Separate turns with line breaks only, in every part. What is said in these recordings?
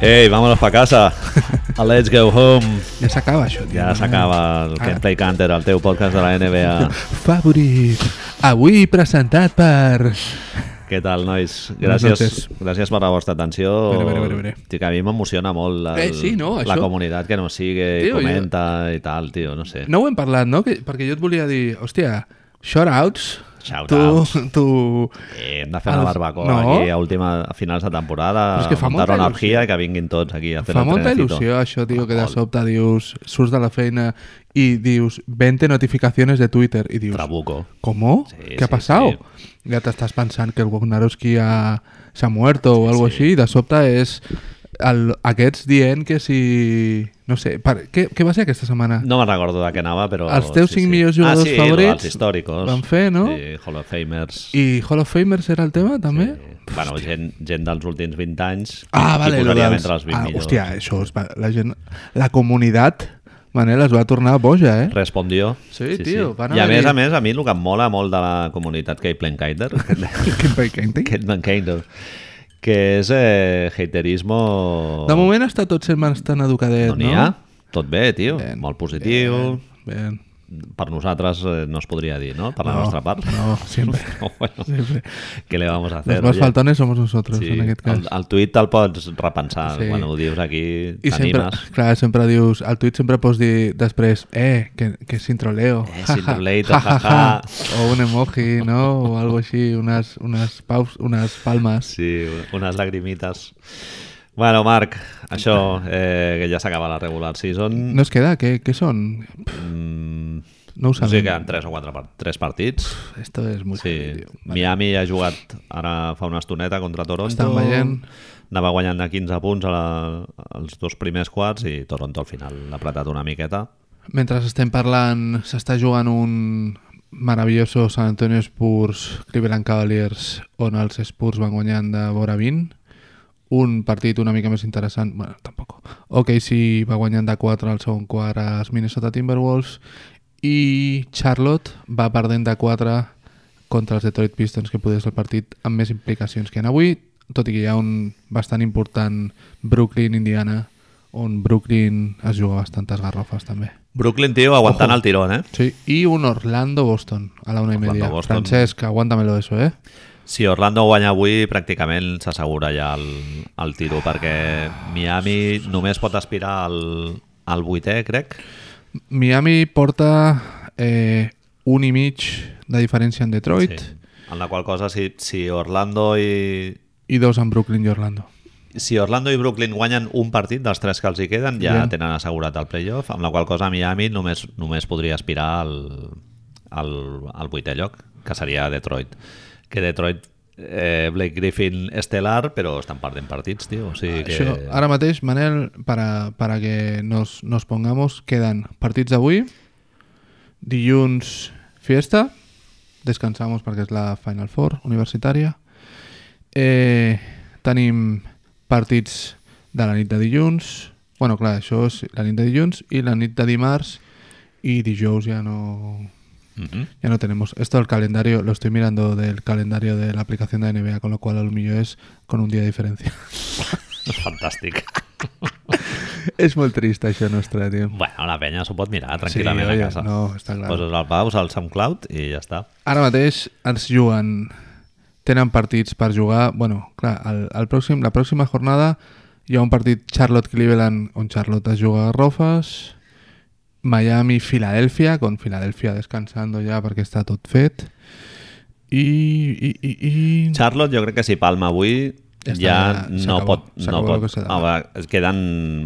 Hey, vámonos para casa. A Let's go home.
Ja s'acaba això, tio.
Ja s'acaba el
Ara.
Gameplay Canter, el teu podcast de la NBA.
Favorit. Avui presentat per...
Què tal, nois?
noches.
Gràcies, gràcies per la vostra atenció.
Veure, veure, veure, veure.
Tic, a mi m'emociona molt el,
Eh, sí, no?
la
Això-
comunitat que no sigue i
Tio, jo-
comenta i tal, tio, no sé.
No ho hem parlat, no? Que, perquè jo et volia dir, hòstia, shoutouts...
Shoutouts.
Tu, tu...
Eh, hem de fer una
Els-
barbacoa
no.
aquí a, última, a finals de temporada,
Però és que fa
muntar
molta
una
il·lusió.
orgia i que vinguin tots aquí a fer
Fa
el
molta
trenecito.
il·lusió això, tio, que de sobte dius, surts de la feina i dius 20 notificacions de Twitter i dius,
Trabuco.
¿Cómo?
Sí,
¿Qué
sí,
ha pasado?
sí.
Ya te estás pensando que el Wagnarowski ha, s'ha muerto o algo
sí.
así, y de sobte és el, aquests dient que si... No sé, per, què, què va ser aquesta setmana?
No me'n recordo de què anava, però...
Els teus cinc millors jugadors
ah, sí,
favorits
els històrics.
van fer, no?
Sí, Hall of Famers.
I Hall of Famers era el tema, també?
Bueno, gent, gent dels últims 20 anys
Ah,
qui
vale, lo
posaríem
dels-
entre els 20
ah,
millors.
hòstia, això es va, la gent... La comunitat, Manel, es va tornar boja, eh?
Respondió.
Sí, tio, van
I a
haver-hi-
més, a més, a mi el que em mola molt de la comunitat Cape Plankaider,
Kim Painting.
Kaider, que és eh, haterismo...
De moment està tot sent bastant educadet,
no
no?
n'hi ha. Tot bé, tio.
Ben,
molt positiu.
Ben,
Per nosaltres eh, no es podria dir, no? Per la
No,
nostra part.
no, sempre.
Però bueno,
Siempre.
¿Qué le vamos a hacer?
Los más
oye?
faltones somos nosotros,
Sí,
en aquest cas.
el, el tuit te'l pots repensar.
Sí.
Sí. Quan ho dius aquí,
I sempre,
t'animes.
clar, sempre dius, al tuit sempre pots dir després, eh, que, que sin troleo,
Eh,
ja,
sin
ja,
troleito,
ja, ja,
ja, ja.
ja. o un emoji, no? O algo així, unes, unes, paus, unes palmes.
Sí, unes lagrimites. Bueno, Marc, això, eh, que ja s'acaba la regular season.
No es queda, què, què són? Pff,
Mm,
No ho
no sé,
sabem.
queden 3 o 4 part, 3 partits.
Esto es muy
Sí.
jodido.
Miami ha jugat ara fa una estoneta contra Toronto.
Estan veient.
Anava guanyant de 15 punts a la, als dos primers quarts i Toronto al final l'ha apretat una miqueta.
Mentre estem parlant, s'està jugant un meravelloso San Antonio Spurs Cleveland Cavaliers on els Spurs van guanyant de vora 20 un partit una mica més interessant bueno, tampoc OKC va guanyant de 4 al segon quart als Minnesota Timberwolves i Charlotte va perdent de 4 contra els Detroit Pistons que podia ser el partit amb més implicacions que en avui tot i que hi ha un bastant important Brooklyn-Indiana on Brooklyn es juga bastantes garrofes també
Brooklyn, tio, aguantant
Ojo.
el tirón, eh?
Sí, y un Orlando-Boston a la una y media.
Orlando-Boston.
Francesca, aguántamelo eso, ¿eh?
Si Orlando guanya avui, pràcticament s'assegura ja el, el tiro, perquè Miami només pot aspirar al, al vuitè, crec.
Miami porta eh, un y mig de diferencia en Detroit
Sí. En la qual cosa, si, si Orlando i...
y dos en Brooklyn y Orlando.
Si Orlando i Brooklyn guanyen un partit dels tres que els hi queden, ja
Ja.
tenen assegurat el playoff, amb la qual cosa Miami només, només podria aspirar al, al, al vuitè lloc, que seria Detroit. Que Detroit, eh, Blake Griffin estelar, però estan perdent partits, tio. O sigui que...
Ah, Això, ara mateix, Manel, para, para que nos, nos pongamos, quedan partits d'avui, dilluns fiesta, descansamos perquè és la Final Four universitària, eh, tenim partits de la nit de dilluns, bueno, clar, això és la nit de dilluns, i la nit de dimarts, i dijous ja no,
Mhm.
ya no tenemos. Esto del calendario, lo estoy mirando del calendario de la aplicación de NBA, con lo cual a lo millor es con un día de diferencia.
Fantàstic.
És molt trist això nostre, tio.
Bueno, la penya s'ho pot mirar tranquil·lament
Sí,
sí,
oye,
a casa.
no, està clar.
Poses el paus al SoundCloud i ja està.
Ara mateix ens juguen... Tenen partits per jugar... bueno, clar, el, el pròxim, la pròxima jornada hi ha un partit Charlotte-Cleveland on Charlotte es juga a Rofes, Miami-Filadèlfia, con Filadèlfia descansando ja perquè està tot fet, i... i, i, i...
Charlotte jo crec que si palma avui ja,
Ja està,
ja
ja
no
s'acabó,
pot... No
s'acabó el
pot
que s'ha de
a veure, es queden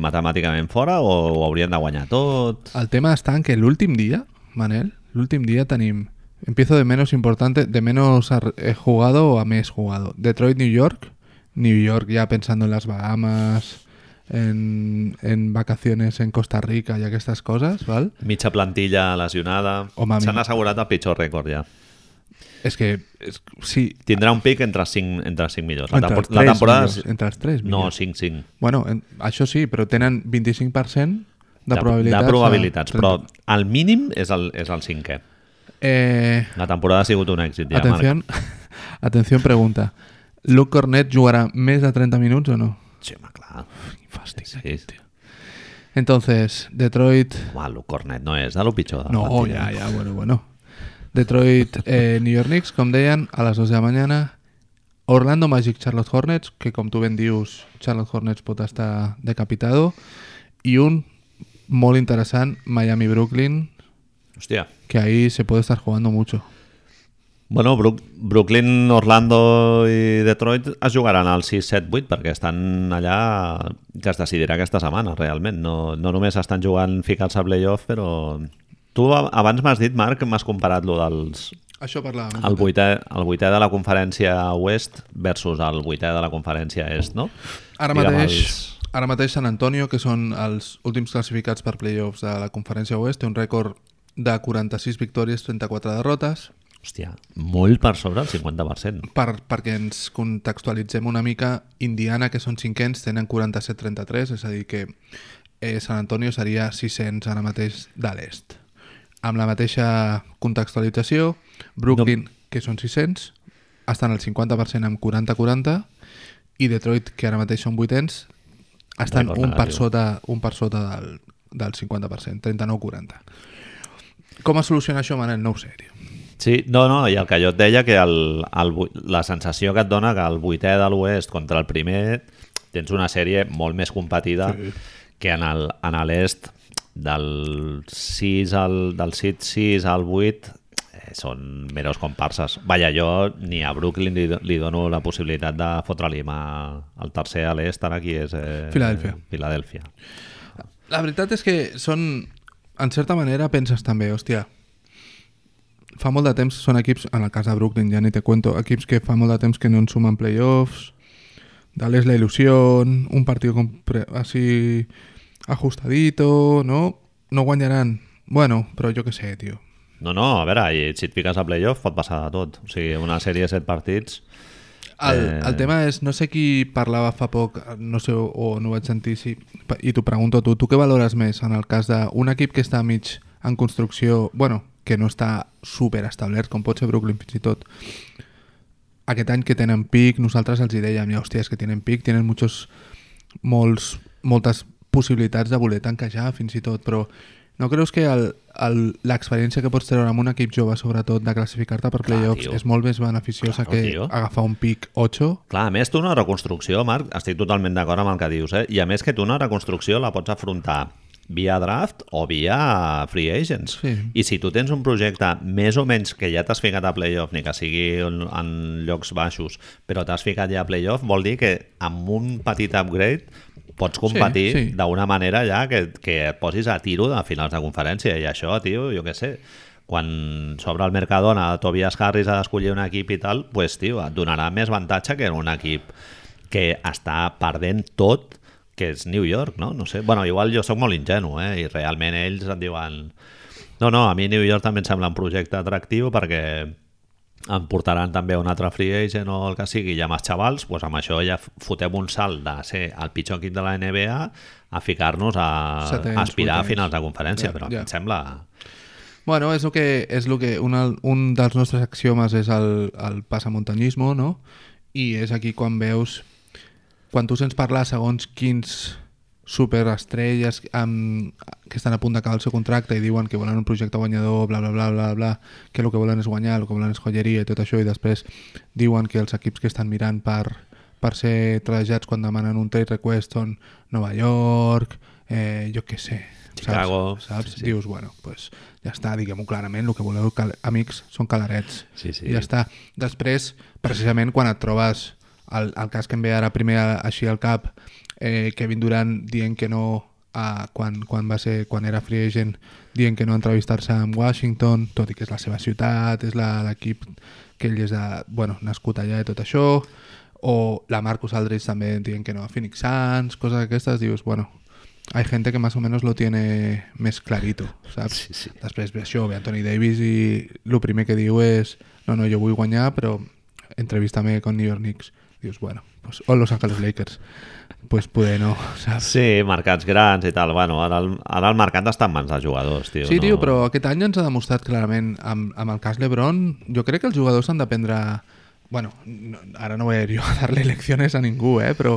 matemàticament fora o ho haurien de guanyar tot?
El tema està en que l'últim dia, Manel, l'últim dia tenim... Empiezo de menos importante, de menos ar- eh, jugado a més jugado. Detroit, New York. New York ya pensando en las Bahamas, en, en vacaciones en Costa Rica y aquestes cosas, ¿vale?
Mitja plantilla lesionada.
Home, a mi-
S'han assegurat el pitjor rècord ja.
Es que, es- sí,
Tindrà un pic entre 5, entre 5 millors. La,
entre
tempor
els tres
la temporada...
millors, entre els tres
No,
millors.
5-5.
Bueno, en, això sí, però tenen 25% de, probabilitats. eh,
de
a
probabilitats però
30.
el mínim és el, és el cinquè.
Eh,
La temporada ha sigut un èxit. Ja, Marc.
atención, atención pregunta. ¿Luke Cornet jugará més de 30 minuts o no?
Sí, home, clar. clar.
Quin fàstic,
Sí.
aquest, tio. Entonces, Detroit...
Home, el Cornet no és de lo pitjor. De la
No,
plantilla.
ya, ya, bueno, bueno. Detroit, eh, New York Knicks, com deien, a les 2 de la mañana. Orlando Magic, Charlotte Hornets, que com tu ben dius, Charlotte Hornets pot estar decapitado. I un molt interessant, Miami-Brooklyn,
Hòstia.
que ahí se puede estar jugando mucho.
Bueno, Brook- Brooklyn, Orlando i Detroit es jugaran al 6, 7, 8 perquè estan allà que es decidirà aquesta setmana, realment. No, no només estan jugant ficar-se a playoff, però... Tu a- abans m'has dit, Marc, m'has comparat lo dels,
Això parlàvem.
el vuitè, el vuitè de la conferència oest versus el vuitè de la conferència est, no?
Ara
Digue'm
mateix, ara mateix San Antonio, que són els últims classificats per playoffs de la conferència oest, té un rècord de 46 victòries, 34 derrotes.
Els... Hòstia, molt per sobre el 50%.
Per, perquè ens contextualitzem una mica, Indiana, que són cinquens, tenen 47-33, és a dir que eh, San Antonio seria 600 ara mateix de l'est. Amb la mateixa contextualització, Brooklyn, no. que són 600, estan al 50% amb 40-40, i Detroit, que ara mateix són vuitens, estan
Record
un per,
negatiu.
sota, un per sota del, del 50%, 39-40. Com es soluciona això, Manel? No ho sé, tio.
Sí, no, no, i el que jo et deia, que el, el, vu- la sensació que et dona que el vuitè de l'oest contra el primer tens una sèrie molt més competida sí. que en el- en l'est del 6 al, del 6, 6 al 8 eh, són meros comparses. Vaja, jo ni a Brooklyn li, do- li dono la possibilitat de fotre-li mà al tercer a l'est, ara qui és? Eh,
Filadèlfia.
Filadèlfia.
La veritat és que són... En certa manera penses també, hòstia, fa molt de temps són equips, en el cas de Brooklyn ja ni te cuento, equips que fa molt de temps que no en sumen playoffs, dales la il·lusió, un partit com pre- així ajustadito, no? No guanyaran. Bueno, però jo que sé, tio.
No, no, a veure, i si et fiques a playoff pot passar de tot. O sigui, una sèrie de 7 partits
El,
Eh.
el tema és, no sé qui parlava fa poc, no sé, o no ho vaig sentir, si, i t'ho pregunto a tu, tu què valores més en el cas d'un equip que està mig en construcció, bueno, que no està super establert, com pot ser Brooklyn fins i tot, aquest any que tenen pic, nosaltres els hi dèiem, ja, hòstia, és que tenen pic, tenen muchos, molts, moltes possibilitats de voler tanquejar, fins i tot, però no creus que el- el- l'experiència que pots treure amb un equip jove, sobretot, de classificar-te per
Clar,
playoffs,
tio.
és molt més beneficiosa
Claro,
que
tio.
agafar un pic 8
Clar, a més, tu una reconstrucció, Marc, estic totalment d'acord amb el que dius, eh? I a més que tu una reconstrucció la pots afrontar via draft o via free agents.
Sí.
I si tu tens un projecte més o menys que ja t'has ficat a playoff, ni que sigui en, en llocs baixos, però t'has ficat ja a playoff, vol dir que amb un petit upgrade pots competir
sí.
d'una manera ja que, que et posis a tiro de finals de conferència i això, tio, jo què sé quan s'obre el Mercadona Tobias Harris ha d'escollir un equip i tal pues, tio, et donarà més avantatge que en un equip que està perdent tot que és New York, no? No sé. Bueno, igual jo sóc molt ingenu, eh? I realment ells et diuen... No, no, a mi New York també em sembla un projecte atractiu perquè em portaran també un altre free agent o el que sigui, ja amb els xavals, doncs amb això ja f- fotem un salt de ser el pitjor equip de la NBA a ficar-nos a,
Setens,
a aspirar
vuitens.
a finals de conferència,
Ja,
però
ja.
em sembla...
Bueno, és el que, és el que un, al- un dels nostres axiomes és el, el passamuntanyisme, no? I és aquí quan veus... Quan tu sents parlar segons quins superestrelles amb, que estan a punt d'acabar el seu contracte i diuen que volen un projecte guanyador, bla, bla, bla, bla, bla, que el que volen és guanyar, el que volen és joieria i tot això, i després diuen que els equips que estan mirant per, per ser trajats quan demanen un trade request són Nova York, eh, jo què sé, saps?
Chicago,
saps?
sí, sí.
Dius, bueno, pues, ja està, diguem-ho clarament, el que voleu cal amics són calarets.
Sí, sí.
Ja està. Després, precisament, quan et trobes el, el cas que em ve ara primer a- així al cap, eh, Kevin Durant dient que no a, quan, quan, va ser, quan era free agent dient que no entrevistar-se amb Washington tot i que és la seva ciutat és la- l'equip que ell és de, bueno, nascut allà i tot això o la Marcus Aldridge també dient que no a Phoenix Suns coses d'aquestes, dius, bueno hay gente que más o menos lo tiene més clarito, saps?
Sí, sí.
Després ve això, ve Anthony Davis i el primer que diu és no, no, jo vull guanyar, però entrevista-me con New York Knicks. Dius, bueno, pues, o Los Angeles Lakers. Pues poder no, saps?
Sí, mercats grans i tal. Bueno, ara el, ara el mercat està en mans de jugadors, tio.
Sí,
no...
tio, però aquest any ens ha demostrat clarament, amb, amb el cas LeBron, jo crec que els jugadors han d'aprendre... Bueno, no, ara no voy a ir jo a dar-li lecciones a ningú, eh? però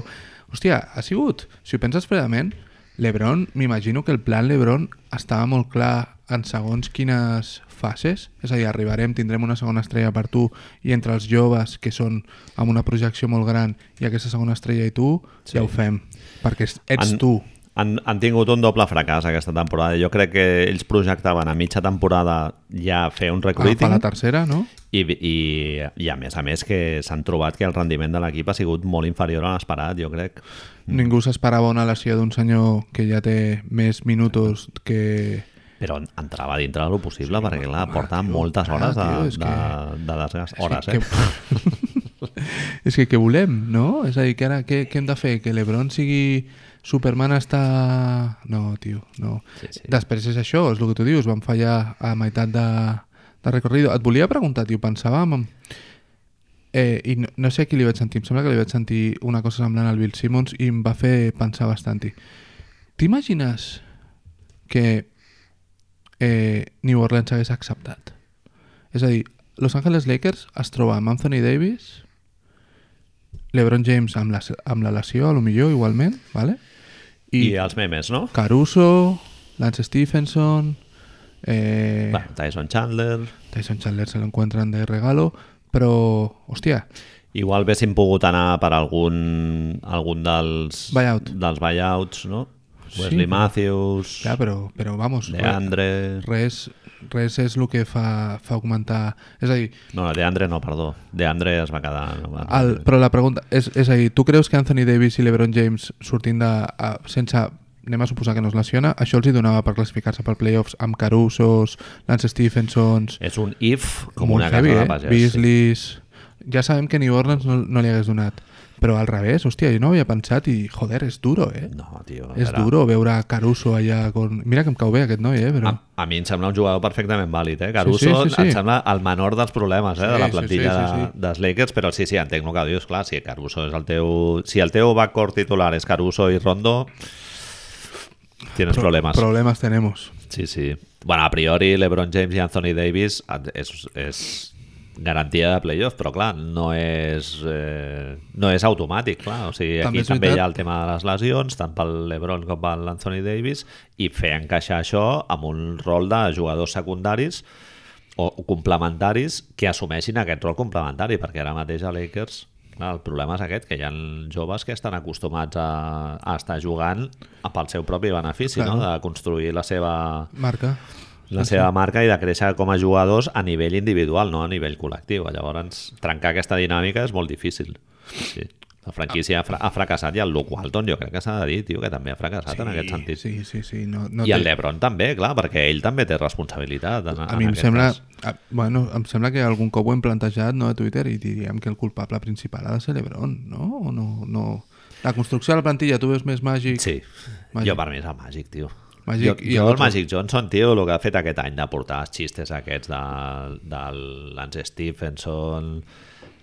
Hòstia, ha sigut, si ho penses fredament, l'Ebron, m'imagino que el plan l'Ebron estava molt clar en segons quines fases, és a dir, arribarem, tindrem una segona estrella per tu i entre els joves que són amb una projecció molt gran i aquesta segona estrella i tu, sí. ja ho fem, perquè ets
Han-
tu.
Han, han tingut un doble fracàs aquesta temporada. Jo crec que ells projectaven a mitja temporada ja fer un
Agafar
recruiting
Ah, la tercera, no?
i, i, i a més a més que s'han trobat que el rendiment de l'equip ha sigut molt inferior a l'esperat, jo crec.
Ningú s'esperava una lesió d'un senyor que ja té més minutos que...
Però en- entrava dintre del possible sí, perquè clar, porta moltes
clar,
hores de,
tio, és
de,
que-
de desgast. Hores,
que,
eh?
és que què volem, no? És a dir, que ara què, què hem de fer? Que l'Ebron sigui... Superman està... No, tio, no.
Sí, sí.
Després és això, és el que tu dius, vam fallar a meitat de, de recorrido. Et volia preguntar, tio, pensàvem... en- Eh, I no, no sé a qui li vaig sentir, em sembla que li vaig sentir una cosa semblant al Bill Simmons i em va fer pensar bastant. T'imagines que eh, New Orleans hagués acceptat? És a dir, Los Angeles Lakers es troba amb Anthony Davis, LeBron James amb la, amb la lesió, a lo millor, igualment, ¿vale?
I,
i,
I els memes, no?
Caruso, Lance Stephenson, eh,
Bueno, Tyson Chandler...
Tyson Chandler se lo encuentran de regalo, però, hòstia,
Igual haguéssim pogut anar per algun, algun dels,
Buyout.
dels buyouts, no?
Sí,
Wesley
però-
Matthews,
ja, però, però vamos, re-
Deandre...
res, res és el que fa, fa augmentar... És a dir,
No, Deandre no, perdó. Deandre es va quedar... No, va,
el, però la pregunta és, és a dir, tu creus que Anthony Davis i LeBron James sortint de... A, sense anem a suposar que no es lesiona, això els hi donava per classificar-se pel playoffs amb Carusos, Lance Stephensons,
És un if Eh, com
Molt eh?
una casa de pagès.
Beasleys... Ja sabem que New Orleans no, no li hagués donat, però al revés, hòstia, jo no ho havia pensat i, joder, és duro, eh?
No, tio. a
és
veure,
duro veure a Caruso allà... Con... Mira que em cau bé aquest noi, eh? Però...
A, a mi em sembla un jugador perfectament vàlid, eh? Caruso
sí, sí, sí.
em sembla el menor dels problemes eh? de
Sí,
la
sí,
plantilla
sí, sí,
de-
sí.
dels Lakers, però sí, sí, entenc el que dius, clar, si Caruso és el teu... Si el teu backcourt titular és Caruso i Rondo, tienes problemes.
Problemes tenemos.
Sí, sí. Bueno, a priori LeBron James i Anthony Davis és, és garantia de playoff, però clar, no és, eh, no és automàtic, clar. O sigui,
També
aquí
és
també, també hi
veritat.
ha el tema de les lesions, tant pel LeBron com per l'Anthony Davis, i fer encaixar això amb un rol de jugadors secundaris o complementaris que assumeixin aquest rol complementari, perquè ara mateix a Lakers clar, el problema és aquest, que hi ha joves que estan acostumats a, a estar jugant pel seu propi benefici,
Clar.
no? de construir la seva,
Marca.
la seva marca i de créixer com a jugadors a nivell individual, no a nivell col·lectiu. Llavors, trencar aquesta dinàmica és molt difícil. Sí. La franquícia ha, fra ha fracassat i el Luke Walton jo crec que s'ha de dir, tio, que també ha fracassat en aquest sentit.
Sí, sí, sí. No, no
I el
té-
Lebron també, clar, perquè ell també té responsabilitat. En,
A
en
mi em
aquest
sembla,
cas.
a, bueno, em sembla que algun cop ho hem plantejat no, a Twitter i diríem que el culpable principal ha de ser l'Ebron, no? O no, no? La construcció de la plantilla, tu veus més màgic?
Sí,
Màgic.
jo per mi és el Màgic, tio.
Màgic
jo,
i
jo el
l'altre.
Magic Johnson, tio, el que ha fet aquest any de portar els xistes aquests de, de Lance Stephenson,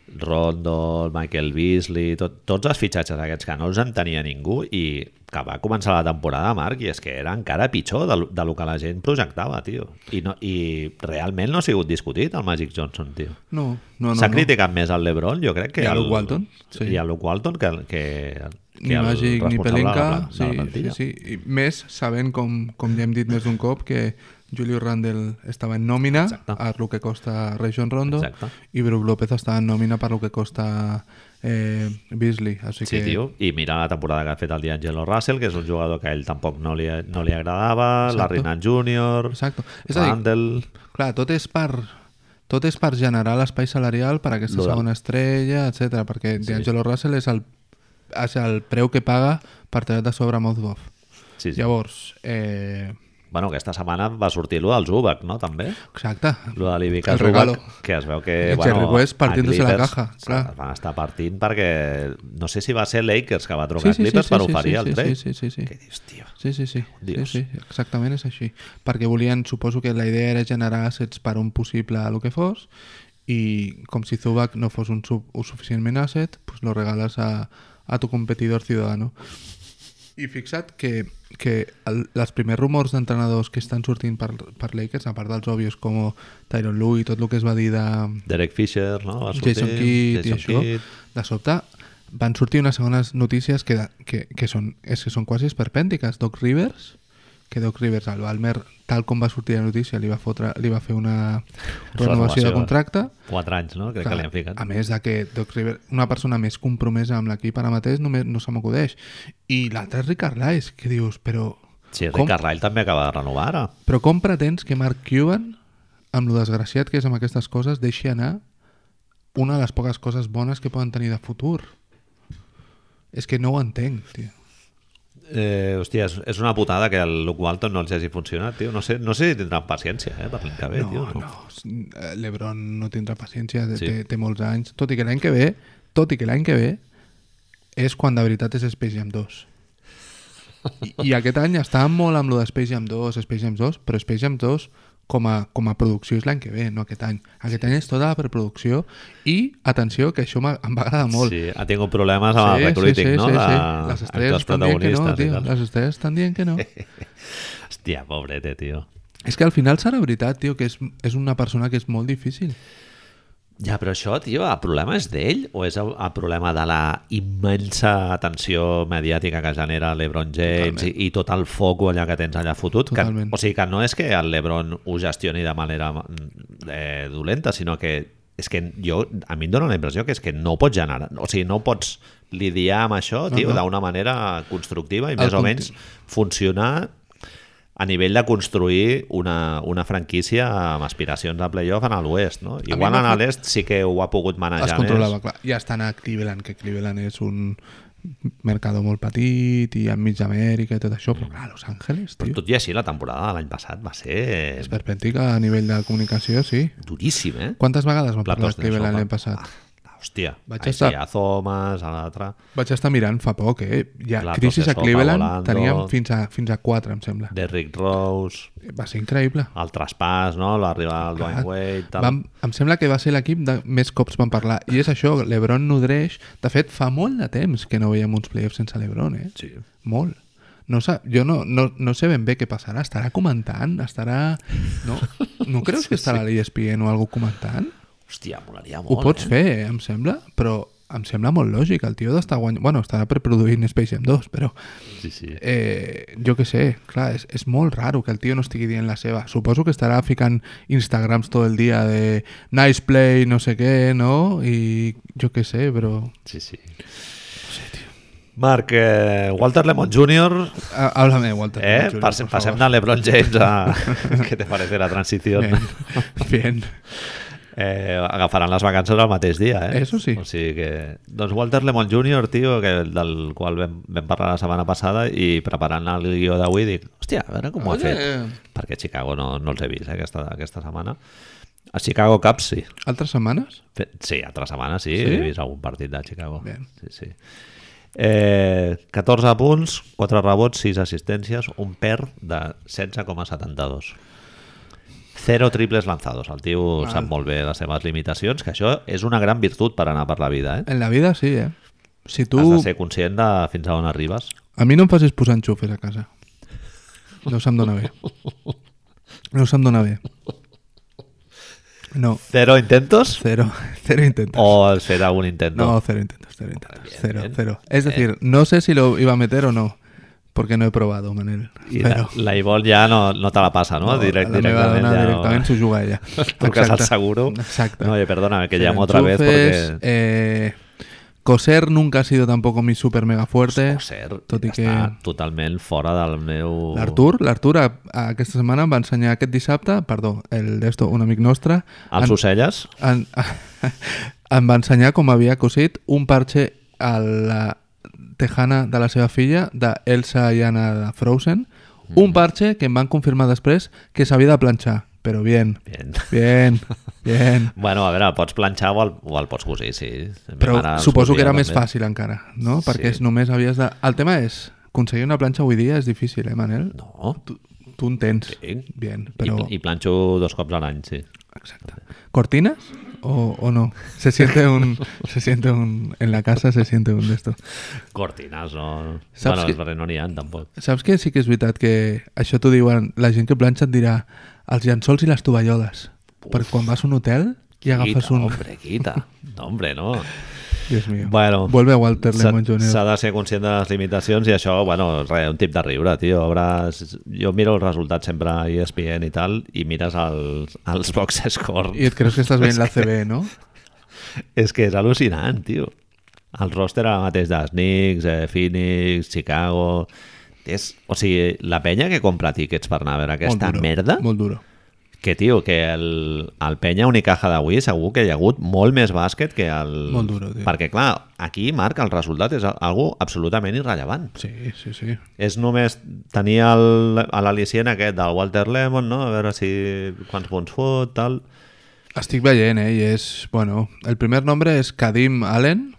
Rondo, el Michael Beasley, tot, tots els fitxatges aquests que no els entenia ningú i que va començar la temporada, Marc, i és que era encara pitjor de, lo- de lo que la gent projectava, tio. I, no, i realment no ha sigut discutit el Magic Johnson, tio.
No, no, no.
S'ha
no.
criticat més el LeBron, jo crec que...
I a
el-
Luke Walton, sí.
I a Luke Walton que, el- que, que
Ni
el
màgic,
responsable
ni
de la
pelenca.
plan- de
Sí,
la plantilla.
sí, sí. I més sabent, com, com ja hem dit més d'un cop, que Julio Randle estava en nòmina
Exacte.
a lo que costa Rajon Rondo
Exacte.
i Brook López estava en nòmina per lo que costa eh, Beasley. Així
Sí,
que...
tio. I mira la temporada que ha fet el D'Angelo Russell, que és un jugador que a ell tampoc no li, no li agradava,
Exacto.
Larry Nance Jr.,
Exacte. És a dir,
Randall...
Clar, tot és per tot és per generar l'espai salarial per a aquesta
Lo de-
segona estrella, etc. perquè sí. D'Angelo Russell és el, és el preu que paga per tallar de sobre Mouth Goff.
Sí, sí.
Llavors, eh,
Bueno, aquesta setmana va sortir allò del Zubac, no? També.
exacte,
Lo de l'Ivica
El regalo.
Zubac, que es veu que...
I Jerry West
a
partiéndose la
Clippers
caja,
se-
clar.
Es van estar partint perquè... No sé si va ser Lakers que va trucar sí, sí, Clippers sí, sí, per oferir
sí,
el
sí,
trade.
sí, sí, sí.
Què dius, tio?
Sí, sí, sí. sí,
Dios.
sí, exactament és així. Perquè volien, suposo que la idea era generar assets per un possible el que fos i com si Zubac no fos un, sub, un suficientment asset, pues lo regales a, a tu competidor ciudadano. I fixa't que, que el, els primers rumors d'entrenadors que estan sortint per, per Lakers, a part dels òbvios com Tyron Lue i tot el que es va dir de,
Derek Fisher, no? Va sortir,
Jason Kidd i
Jason
això,
Kidd.
de sobte van sortir unes segones notícies que, que, que, són, és que són quasi esperpèntiques. Doc Rivers, que Doc Rivers al Balmer, tal com va sortir la notícia, li va, fotre, li va fer una renovació de contracte.
Quatre anys, no? Crec que li han ficat.
A més de que Doc Rivers, una persona més compromesa amb l'equip ara mateix, només no se m'acudeix. I l'altre és Ricard Lais, que dius, però...
Sí, Rick Carlisle també acaba de renovar ara.
Però com pretens que Mark Cuban, amb lo desgraciat que és amb aquestes coses, deixi anar una de les poques coses bones que poden tenir de futur? És que no ho entenc, tio.
Eh, hòstia, és, és una putada que el Luke Walton no els hagi funcionat, tio. No sé, no sé si tindran paciència, eh, per l'any que ve,
no,
tio.
no, l'Ebron no tindrà paciència,
Sí.
sí. té, té molts anys, tot i que l'any que ve, tot i que l'any que ve és quan de veritat és Space Jam 2. I, I aquest any està molt amb lo de Space Jam 2, Space Jam 2, però Space Jam 2 com a, com a producció és l'any que ve, no aquest any. Aquest any és tota la preproducció i, atenció, que això m'ha- em va agradar molt.
Sí, Ah, ha tingut problemes amb el recruiting, no? De-
Les
entre
estrelles
els
estan dient que no,
protagonistes i
tio.
tal.
Les estrelles estan dient que no.
Hòstia, pobrete, tio.
és que al final serà veritat, tio, que és, és una persona que és molt difícil.
Ja, però això, tio, el problema és d'ell o és el, el problema de la immensa atenció mediàtica que genera l'Ebron James i, i tot el foc allà que tens allà fotut? Que,
Totalment.
o sigui, que no és que el l'Ebron ho gestioni de manera mm, eh, dolenta, sinó que és que jo, a mi em dóna la impressió que és que no pots generar, o sigui, no pots lidiar amb això, tio,
no.
d'una manera constructiva i
Al
més o
conti-
menys funcionar a nivell de construir una, una franquícia amb aspiracions a playoff en l'oest, no?
mi
Igual
m'ha
en
fet-
l'est sí que ho ha pogut manejar eh?
es controlava, clar. Ja estan a Cleveland, que Cleveland és un mercador molt petit i enmig d'Amèrica i tot això, però clar, Los Angeles,
Però
tio,
Mm. tot i així, la temporada de l'any passat va ser
és perpentica a nivell de comunicació, sí.
duríssim, eh?
Quantes vegades vam parlar
Platos de
de
sopa.
Cleveland l'any passat?
Ah, hòstia,
Vaig
Vaig a
estar-
estar... Thomas, a l'altre...
Vaig estar mirant fa poc, eh? Ja,
Platos
crisis
de
a
sopa
Cleveland
volando.
teníem fins a, fins a 4, em sembla.
Derrick Rose,
Va ser increïble.
el traspàs, no? L'arribada del
Clar.
Dwayne Wade... Tal.
Vam, em sembla que va ser l'equip de més cops van parlar. I és això, l'Ebron nodreix. De fet, fa molt de temps que no veiem uns playoffs sense l'Ebron, eh?
Sí.
Molt. No sa, jo no, no, no sé ben bé què passarà. Estarà comentant? Estarà... No, no creus que estarà a l'ESPN o algú comentant?
Hòstia, molaria
Ho
molt,
pots
eh?
fer, eh, em sembla, però em sembla molt lògic. El tio d'estar guanyant... Bueno, estarà preproduint Space Jam 2, però...
Sí, sí.
Eh, jo que sé, clar, és, és molt raro que el tio no estigui dient la seva. Suposo que estarà ficant Instagrams tot el dia de nice play, no sé què, no? I jo que sé, però...
Sí, sí. Marc, eh, Walter Lemon Jr.,
Ah, Háblame de Walter.
eh?
Jr.,
Pas-
por
passem
favor.
de LeBron James a... Què te parece la transició?
Bien, bien.
Eh, agafaran les vacances el mateix dia, eh?
Eso sí.
O sigui que... Doncs Walter Lemon Jr., tio, que, del qual vam, vam parlar la setmana passada i preparant el guió d'avui dic, hòstia, a veure com ho ha
Oye.
fet. Perquè a Chicago no, no els he vist eh, aquesta, aquesta setmana. A Chicago Cubs sí.
¿Altas semanas?
Fe- Sí, altra setmana sí,
Sí?
he vist algun partit de Chicago.
Bien.
Sí, sí. Eh, 14 punts, 4 rebots, 6 assistències, un per de 16,72. Zero triples lanzados. El tio Mal. sap molt bé les seves limitacions, que això és una gran virtut per anar per la vida, eh?
En la vida sí, eh? Si
Has de
tú...
ser conscient de fins a on arribes.
A mi no em facis posar enxufes a casa. No se'm dóna bé. No se'm dóna bé. No,
Zero intentos
cero, cero intentos.
o has fet algun intent?
No, cero intentos, cero intentos.
Bien,
cero,
bien.
cero. Es decir, no sé si lo iba a meter o no, porque no he probado, Manel.
I la,
Pero
la Ivol ja no, no te la passa, no? Direct,
la meva
directament,
dona
ja
directament s'ho juga ella.
Truques
Exacte.
al seguro.
Exacte.
No, oye, perdona, que
Cero
llamo otra vez
enchufes,
porque...
eh, coser nunca ha sido tampoco mi super mega fuerte.
O ser,
tot i
està
que-
totalment fora del meu...
L'Artur, l'Artur a- a- aquesta setmana em va ensenyar aquest dissabte, perdó, el d'esto, un amic nostre,
Els ocelles?
en, em va ensenyar com havia cosit un parche a la tejana de la seva filla, de Elsa i Anna de Frozen,
Mm.
un parche que em van confirmar després que s'havia de planxar, però bien,
Bien.
bien, bien.
Bueno, a veure, el pots planxar o el, o el pots cosir, sí. Ma
Però
mare ens
suposo que
cosia
era més
també.
fàcil encara, no? Perquè
Sí.
és només havies de... El tema és, aconseguir una planxa avui dia és difícil, eh, Manel?
No,
Tu, tu en tens.
Sí.
Bien,
però...
però...
I, i planxo dos cops a l'any, sí.
Exacto. ¿Cortinas o, o no? Se siente un. se siente un. En la casa se siente un de esto.
Cortines, no...
Saps
bueno,
que-
que... no n'hi ha, tampoc.
Saps que sí que és veritat que això t'ho diuen, la gent que planxa et dirà els llençols i les tovalloles. Perquè quan vas a un hotel i agafes
Quita,
un...
hombre, quita. No, hombre, no.
Dios mío.
Bueno,
Vuelve Walter
S'ha
Lemon Jr.
s'ha de ser conscient de les limitacions i això, bueno, res, un tip de riure, tio. Hauràs... Jo miro els resultats sempre a E ESPN i tal, i mires els, els box score.
Y creo que estás bien la CB, ¿no?
És que és al·lucinant, tio. El roster ara mateix dels Knicks, eh, Phoenix, Chicago... És, o sigui, la penya que compra tiquets per anar a veure aquesta
Molt duro,
merda...
Molt duro.
Que, tio, que el, el penya Unicaja d'avui segur que hi ha hagut molt més bàsquet que el...
Molt duro, tio.
Perquè, clar, aquí, Marc, el resultat és algo absolutament irrellevant.
Sí, sí, sí.
És només tenir el- a l'al·licient aquest del Walter Lemon, no? A veure si quants punts fot, tal...
Estic veient, eh? I és, bueno, el primer nombre és Kadim Allen,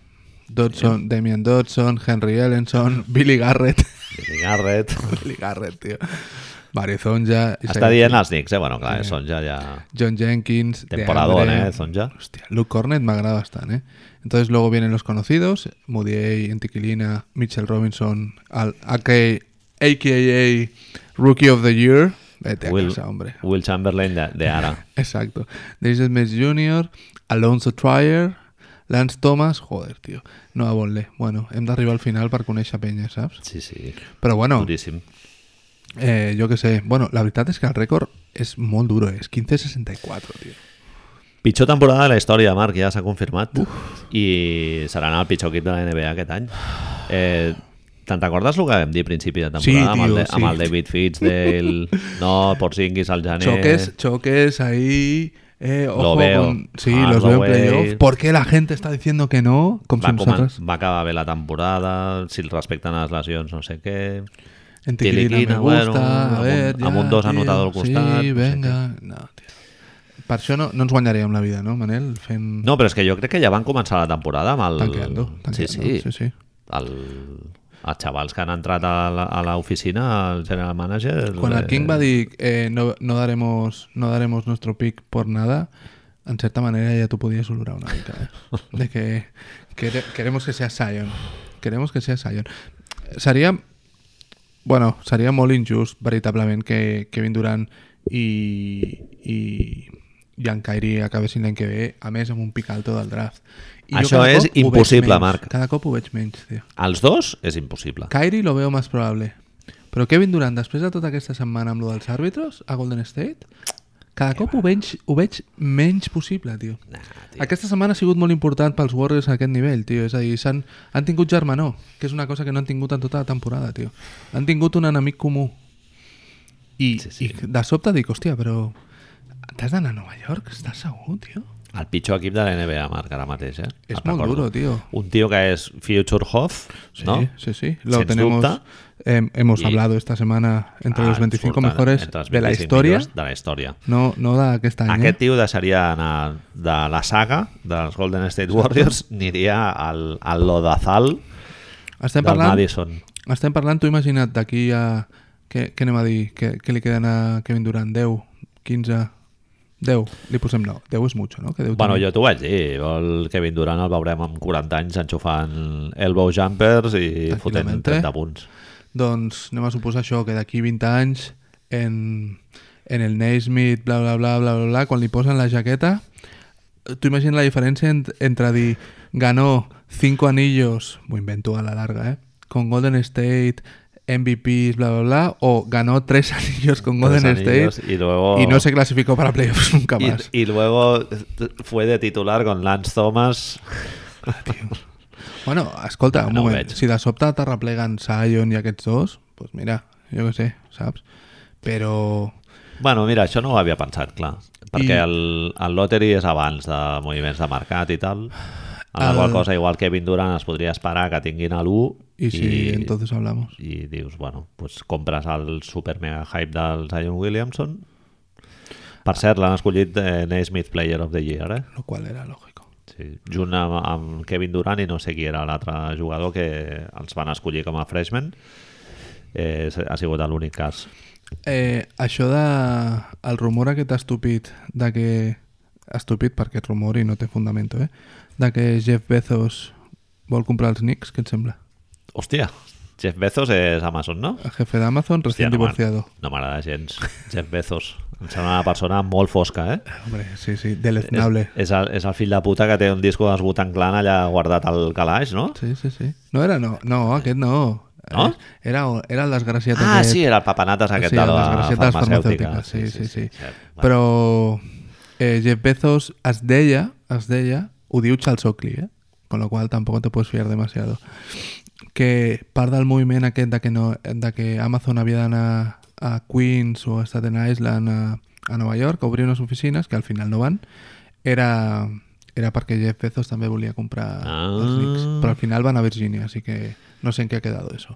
Dodson, Damien Dodson, Henry Ellenson, Billy Garrett.
Billy Garrett...
Billy Garrett, tio. Barizonja.
Està dient els Knicks, eh? Bueno, clar, són ja... ja...
John Jenkins.
Temporadón,
DeAndre.
eh, Zonja.
Hostia, Luke Cornet me agrada bastante. ¿eh? Entonces luego vienen los conocidos, Moody, Entiquilina, Mitchell Robinson, al, AK, AKA Rookie of the Year. Vete a
Will,
casa, hombre.
Will Chamberlain de, de ara.
Exacto. Daisy Smith Jr., Alonso Trier, Lance Thomas, joder, tío. No a Bueno, hem d'arribar al final per conèixer penya, saps?
Sí, sí.
Però bueno,
Duríssim.
eh, jo que sé. Bueno, la veritat és que el rècord és molt duro, eh? és 15-64, tio.
Pitjor temporada de la història, Marc, ja s'ha confirmat. I seran el pitjor equip de la NBA aquest any. Eh, Te'n recordes el que vam dir a principi de temporada?
Sí,
amb, el
tio,
de,
sí.
amb el David Fitzdale, no, Porzingis al gener...
Choques, choques ahí. Eh, ojo
Lo veo.
con- sí,
Ah,
los
lo
veo
veo.
en playoff. ¿Por qué la gente está diciendo que no? Con
Va,
sus
comen,
nosotras.
va acabar bé la temporada, si el respecten a les lesions, no sé què...
En Tiquilina me
Tiliquina,
gusta.
bueno,
a
amb
ver,
un-
ya,
amb un dos
tío,
anotador al costat,
Sí,
no sé
venga. No, tío. Per això no, no ens guanyaríem la vida, no, Manel? Fent...
No, però és que jo crec que ja van començar la temporada amb el...
tanqueando, tanqueando.
Sí,
sí,
sí. El, els xavals que han entrat a la- a l'oficina, el general manager...
Quan el
eh,
King va dir eh, no, no, daremos, no daremos nuestro pick por nada, en cierta manera ya tú podías olorar una mica. eh? De que quere- queremos que sea Zion. Queremos que sea Zion. Seria, bueno, seria molt injust, veritablement, que Kevin Durant i, i, i en Kyrie acabessin l'any que ve, a més amb un pic alto del draft. I jo
Això
cada
és
cop ho veig
impossible,
menys.
Marc.
Cada cop ho veig menys, tio.
Els dos és impossible.
Kyrie lo veo más probable. Però Kevin Durant, després de tota aquesta setmana amb lo dels àrbitres a Golden State, cada cop ho veig, ho veig menys possible, tio.
Nah, tio.
Aquesta setmana ha sigut molt important pels Warriors a aquest nivell, tio. És a dir, han, han tingut germanor, que és una cosa que no han tingut en tota la temporada, tio. Han tingut un enemic comú.
Sí,
I, sí,
sí.
sí. i de sobte dic, hòstia, però t'has d'anar a Nova York? Estàs segur, tio?
El pitjor equip de la NBA, Marc, ara mateix, eh?
És
Et
molt
recordo.
duro, tio.
Un tio que és Future Hoff,
Sí,
no?
sí, sí. Lo
Sin
tenemos.
duda.
hem- hemos
Y-
hablado esta semana entre los
Ah,
25
surten
mejores
entre els
de la
25
historia. eh.
millors De la història.
No, no d'aquest any.
Aquest tio deixaria anar de la saga dels Golden State Warriors, aniria al, al Lodazal
eh? Estem
del
parlant,
Madison.
estem parlant, tu imagina't, d'aquí a... Què, què anem a dir? Què, què li queden a Kevin Durant? 10, 15... 10, li posem 9. 10 és mucho, no? Que 10
Bueno, jo t'ho vaig dir, el Kevin Durant el veurem amb 40 anys enxufant elbow jumpers i fotent
Tranquil·lament, eh?
30 punts.
Doncs anem a suposar això, que d'aquí 20 anys en, en el Naismith, bla, bla, bla, bla, bla, bla, quan li posen la jaqueta, tu imagines la diferència ent entre dir ganó 5 anillos, m'ho invento a la larga, eh? con Golden State, MVPs, bla, bla, bla, o ganó 3 anillos con
Tres
Golden
anillos oh.
State
y luego-
y no se clasificó para playoffs nunca
Y,
más.
y luego fue de titular con Lance Thomas.
Bueno, escolta,
No,
un
no ho
moment,
veig.
si de sobte t'arrepleguen Sion i aquests dos, doncs pues mira, jo què sé, saps? Però
Bueno, mira, això no ho havia pensat, clar. Perquè
I-
el, el Lottery és abans de moviments de mercat i tal. A la
El-
qual cosa, igual Kevin Durant es podria esperar que tinguin a l'1
Y si entonces hablamos.
i dius, bueno, pues compres el super mega hype del Zion Williamson.
Ah.
Per cert, l'han escollit eh, Naismith Player of the Year, eh?
Lo cual era lógico.
Sí, junt amb, amb Kevin Durant i no sé qui era l'altre jugador que els van escollir com a freshman. Eh, ha sigut l'únic cas.
Eh, això de... El rumor aquest estúpid de que... Estúpid perquè és rumor i no té fundamento, eh? De que Jeff Bezos vol comprar els Knicks, què et sembla?
Hòstia, Jeff Bezos és Amazon, no?
El jefe d'Amazon,
Hòstia,
recient
no m'ag-
divorciado.
No m'agrada gens. Jeff Bezos, Em sembla una persona molt fosca, eh?
Hombre, sí, sí,
És,
deleznable.
és, el, és el fill de puta que té un disco dels Butan Clan allà guardat al calaix, no?
Sí, sí, sí. No era, no, no, aquest no.
No?
Era, era el desgraciat
Ah,
aquest.
sí, era el papanates aquest
sí,
de
el
la
desgraciat de les
farmacèutica.
farmacèutiques, Sí, sí, sí.
cert. Bueno,
Però eh, Jeff Bezos es deia, es deia, ho diu Charles Oakley, eh? Con lo cual tampoco te puedes fiar demasiado. Que part del moviment aquest de que, no, de que Amazon havia d'anar a Queens o a Staten Island a, a Nova York a obrir unes oficines, que al final no van, era, era perquè Jeff Bezos també volia comprar
Ah.
els Knicks. Però al final van a Virgínia, així que no sé en què ha quedat això.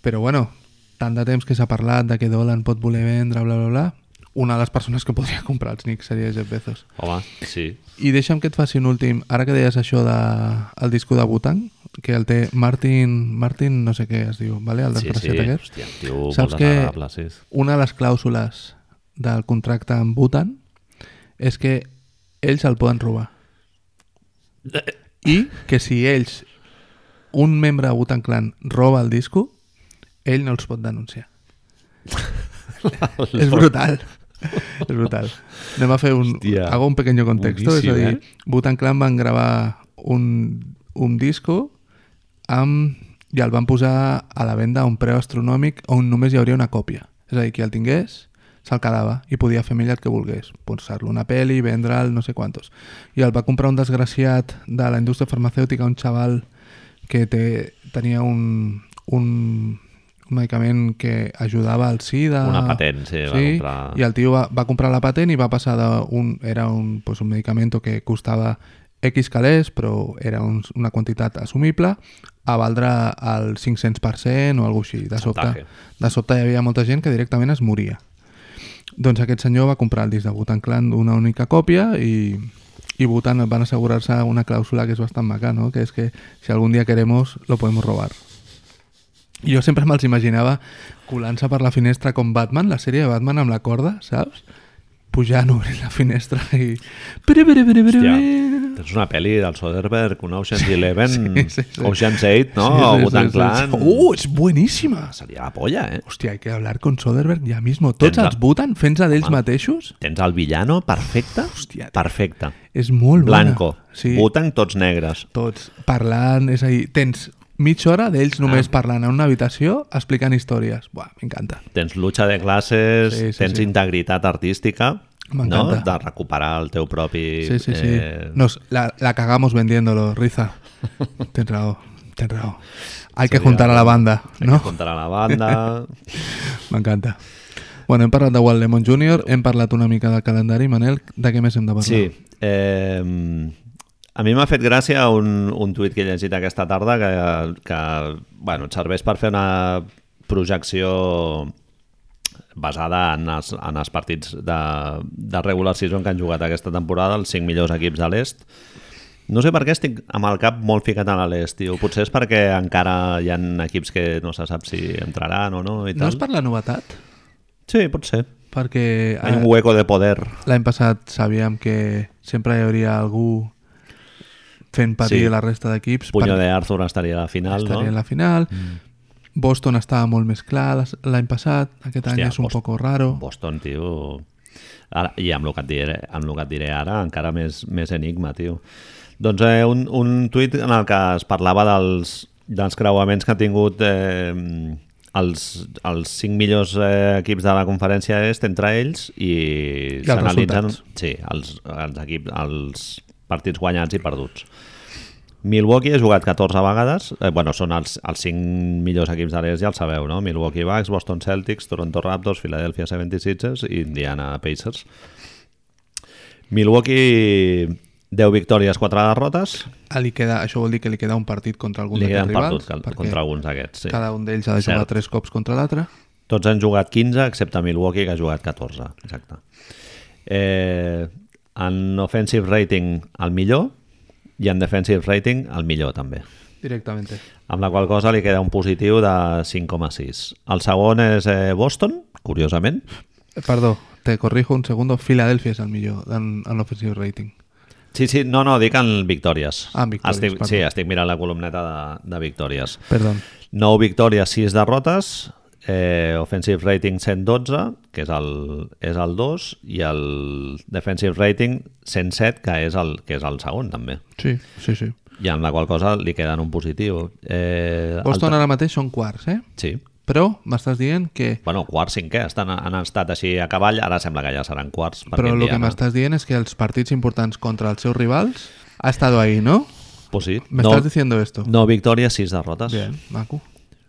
Però bueno, tant de temps que s'ha parlat de que Dolan pot voler vendre, bla, bla, bla, una de les persones que podria comprar els Knicks seria Jeff Bezos.
Home, sí.
I deixa'm que et faci un últim, ara que deies això de, el disco de Butang, que el té Martin, Martin no sé què es diu, vale? el
Sí, sí.
desgraciat aquest.
Hòstia, un tio,
Saps
molt
que-
desagradable, sí.
Una de les clàusules del contracte amb Bhutan és que ells el poden robar. I que si ells, un membre de Bhutan Clan, roba el disco, ell no els pot denunciar. és brutal. és brutal. Anem a fer un...
Hòstia.
Hago un pequeño contexto.
Boníssim,
és a dir,
eh?
Bhutan Clan van gravar un, un disco amb, i el van posar a la venda a un preu astronòmic on només hi hauria una còpia. És a dir, qui el tingués se'l quedava i podia fer amb ell el que volgués, posar-lo una pel·li, vendre'l, no sé quantos. I el va comprar un desgraciat de la indústria farmacèutica, un xaval que té, tenia un, un, un medicament que ajudava al SIDA...
Una patent, sí, va comprar.
I el tio va, va comprar la patent i va passar d'un... Era un, pues, un medicament que costava X calés, però era un, una quantitat assumible, a valdre el 500% o alguna cosa així. De sobte,
Saltaje.
de sobte hi havia molta gent que directament es moria. Doncs aquest senyor va comprar el disc de Butan Clan d'una única còpia i, i Butan van assegurar-se una clàusula que és bastant maca, no? que és que si algun dia queremos lo podemos robar. I Jo sempre me'ls imaginava colant-se per la finestra com Batman, la sèrie de Batman amb la corda, saps? Pujant, obrint la finestra i... Pere, pere, pere, pere,
Hòstia,
pere.
tens una pel·li del Soderbergh, un Ocean's Eleven,
sí, sí.
Ocean's Eight, no? Sí, sí, Butan Clan.
Uh, és bueníssima!
Seria la polla, eh?
Hòstia, hay que hablar con Soderbergh ja mismo. Tots
Tens la-
els Butan fent-se d'ells
Home.
mateixos?
Tens el villano perfecte,
Hòstia.
perfecte.
És molt bona.
Blanco, sí.
Sí.
Butan tots negres.
Tots parlant, és a dir, tens mitja hora d'ells
Ah.
només parlant en una habitació explicant històries. Buah, m'encanta.
Tens lucha de classes,
Sí, sí,
tens
sí.
integritat artística, no?
M'encanta.
de recuperar el teu propi...
Sí, sí, sí.
eh,
Nos, la, la cagamos vendiéndolo, Riza. Tens raó, tens raó. Hay que
Seria-
juntar a la banda,
Hay
no?
que juntar a la banda...
M'encanta. Bueno, hem parlat de Walt Lemon Jr., hem parlat una mica del calendari, Manel, de què més hem de parlar?
Sí. Eh, a mi m'ha fet gràcia un, un tuit que he llegit aquesta tarda que, que bueno, et serveix per fer una projecció basada en els, en els partits de, de regular season que han jugat aquesta temporada, els 5 millors equips de l'est. No sé per què estic amb el cap molt ficat a l'est, tio. Potser és perquè encara hi ha equips que no se sap si entraran o no i
No
tal.
és per la novetat?
Sí, potser.
Perquè eh,
Hi ha un hueco de poder.
L'any passat sabíem que sempre hi hauria algú fent patir
Sí.
sí. la resta d'equips
Puño
per-
de Arthur estaria a la final,
estaria en
no? Mm.
la final. Boston estava molt més clar les- l'any passat, aquest any
Hòstia,
és un
Boston-
poco raro.
Boston, tio... Ara, I amb el, que et diré, amb el que et diré ara, encara més, més enigma, tio. Doncs eh, un, un tuit en el que es parlava dels, dels creuaments que ha tingut eh, els, els cinc millors eh, equips de la conferència est entre ells i,
els
s'analitzen
resultats.
sí, els, els, equips, els partits guanyats i perduts. Milwaukee ha jugat 14 vegades, eh, bueno, són els, els 5 millors equips de l'est, ja el sabeu, no? Milwaukee Bucks, Boston Celtics, Toronto Raptors, Philadelphia 76ers i Indiana Pacers. Milwaukee 10 victòries, 4 derrotes,
Ah, Li queda, això vol dir que li queda un partit contra algun
li
d'aquests
queden
rivals,
perduts cal-
perquè
contra alguns d'aquests. Sí.
cada un d'ells ha de jugar
Cert.
tres cops contra l'altre.
Tots han jugat 15, excepte Milwaukee, que ha jugat 14. Exacte. Eh, en offensive rating, el millor, i en defensive rating, el millor, també.
Directament.
amb la qual cosa li queda un positiu de 5,6. El segon és eh, Boston, curiosament.
Eh, Perdó, te corrijo un segundo. Philadelphia és el millor en, en l'offensive rating.
Sí, sí, no, no, dic en victòries.
Ah, en victòries,
estic,
perdó.
sí, estic mirant la columneta de, de victòries.
Perdó.
9 victòries, 6 derrotes, Eh, offensive rating 112, que és el, és el 2, i el defensive rating 107, que és el, que és el segon, també.
Sí, sí, sí.
I amb la qual cosa li queda en un positiu. Eh,
Boston
altre-
ara mateix són quarts, eh?
Sí.
Però m'estàs dient que...
Bueno, quarts, cinquè, estan, han estat així a cavall, ara sembla que ja seran quarts. perquè
Però el que
Indiana-
m'estàs dient és que els partits importants contra els seus rivals ha estat ahí, no?
Pues sí.
Me
no,
estàs diciendo esto.
no victòries, sis derrotes.
Bien, maco.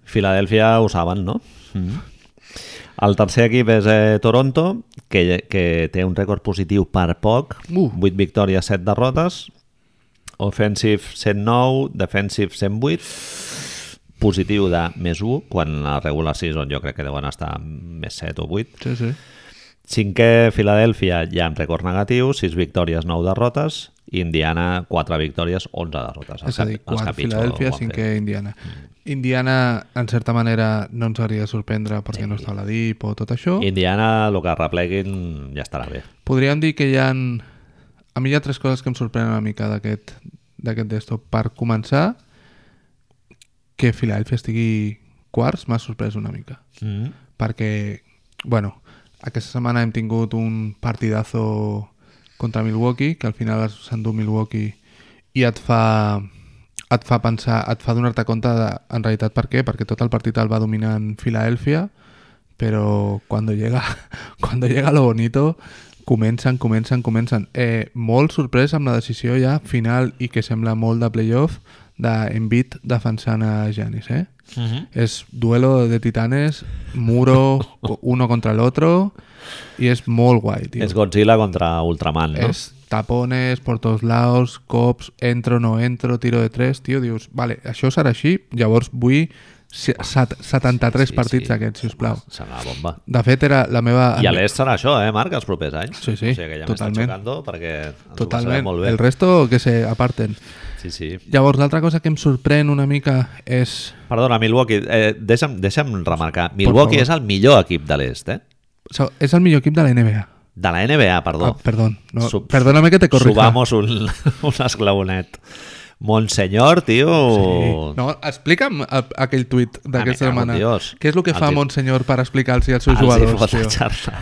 Filadèlfia ho saben, no? Mm. El tercer equip és eh, Toronto, que, que té un rècord positiu per poc,
Uh.
8 victòries, 7 derrotes, offensive 109, defensive 108, positiu de més 1, quan a regular season jo crec que deuen estar més 7 o 8.
Sí, sí.
Cinquè, Filadèlfia, ja amb rècord negatiu, 6 victòries, 9 derrotes, Indiana, 4 victòries, 11 derrotes.
És a dir,
Els que- els que
quart,
pitjor
Filadèlfia,
ho han fet. Mm.
cinquè, Indiana. Indiana, en certa manera, no ens hauria de sorprendre perquè no està a la DIP o tot això.
Indiana, el que repleguin, ja estarà bé.
Podríem dir que hi ha... A mi hi ha tres coses que em sorprenen una mica d'aquest d'aquest desktop. Per començar, que Filadèlfia estigui quarts m'ha sorprès una mica.
Mm.
Mm-hmm. perquè, bueno, aquesta setmana hem tingut un partidazo contra Milwaukee, que al final es- s'endú Milwaukee i et fa, et fa pensar, et fa donar-te compte de, en realitat per què, perquè tot el partit el va dominar en Filadèlfia, però quan llega, quan llega lo bonito comencen, comencen, comencen. Eh, molt sorprès amb la decisió ja final i que sembla molt de playoff d'Envit defensant a Janis, eh?
Mm -hmm.
Es duelo de titanes, muro co- uno contra el otro y es muy guay, tío.
És Godzilla contra Ultraman, no?
Es tapones por todos lados, cops, entro, no entro, tiro de tres, tío, dius, vale, això serà així, llavors vull se- set- 73 partits d'aquests, sisplau.
Serà la bomba.
De fet, era la meva...
I a l'est serà això, eh, Marc, els propers anys.
Sí, sí,
o sigui que ja m'està
totalment.
xocando perquè ens ho passarem
Totalment.
molt bé.
El resto que se aparten.
Sí, sí.
Llavors, l'altra cosa que em sorprèn una mica és...
Perdona, Milwaukee, eh, deixa'm, deixa'm remarcar. Milwaukee és
favor.
el millor equip de l'est, eh?
so- És el millor equip de la NBA.
De la NBA, perdó.
Ah, perdón. No,
Oh. Sub-
perdóname que te corrija.
Subamos un, un esclavonet. Monsenyor, tio...
Sí. No, explica'm a- aquell tuit d'aquesta
Ah, me cago en
setmana.
Dios.
Què és el que
El
fa
tio-
Monsenyor per explicar-los als seus
els hi
jugadors,
fot la
tio?
xarra,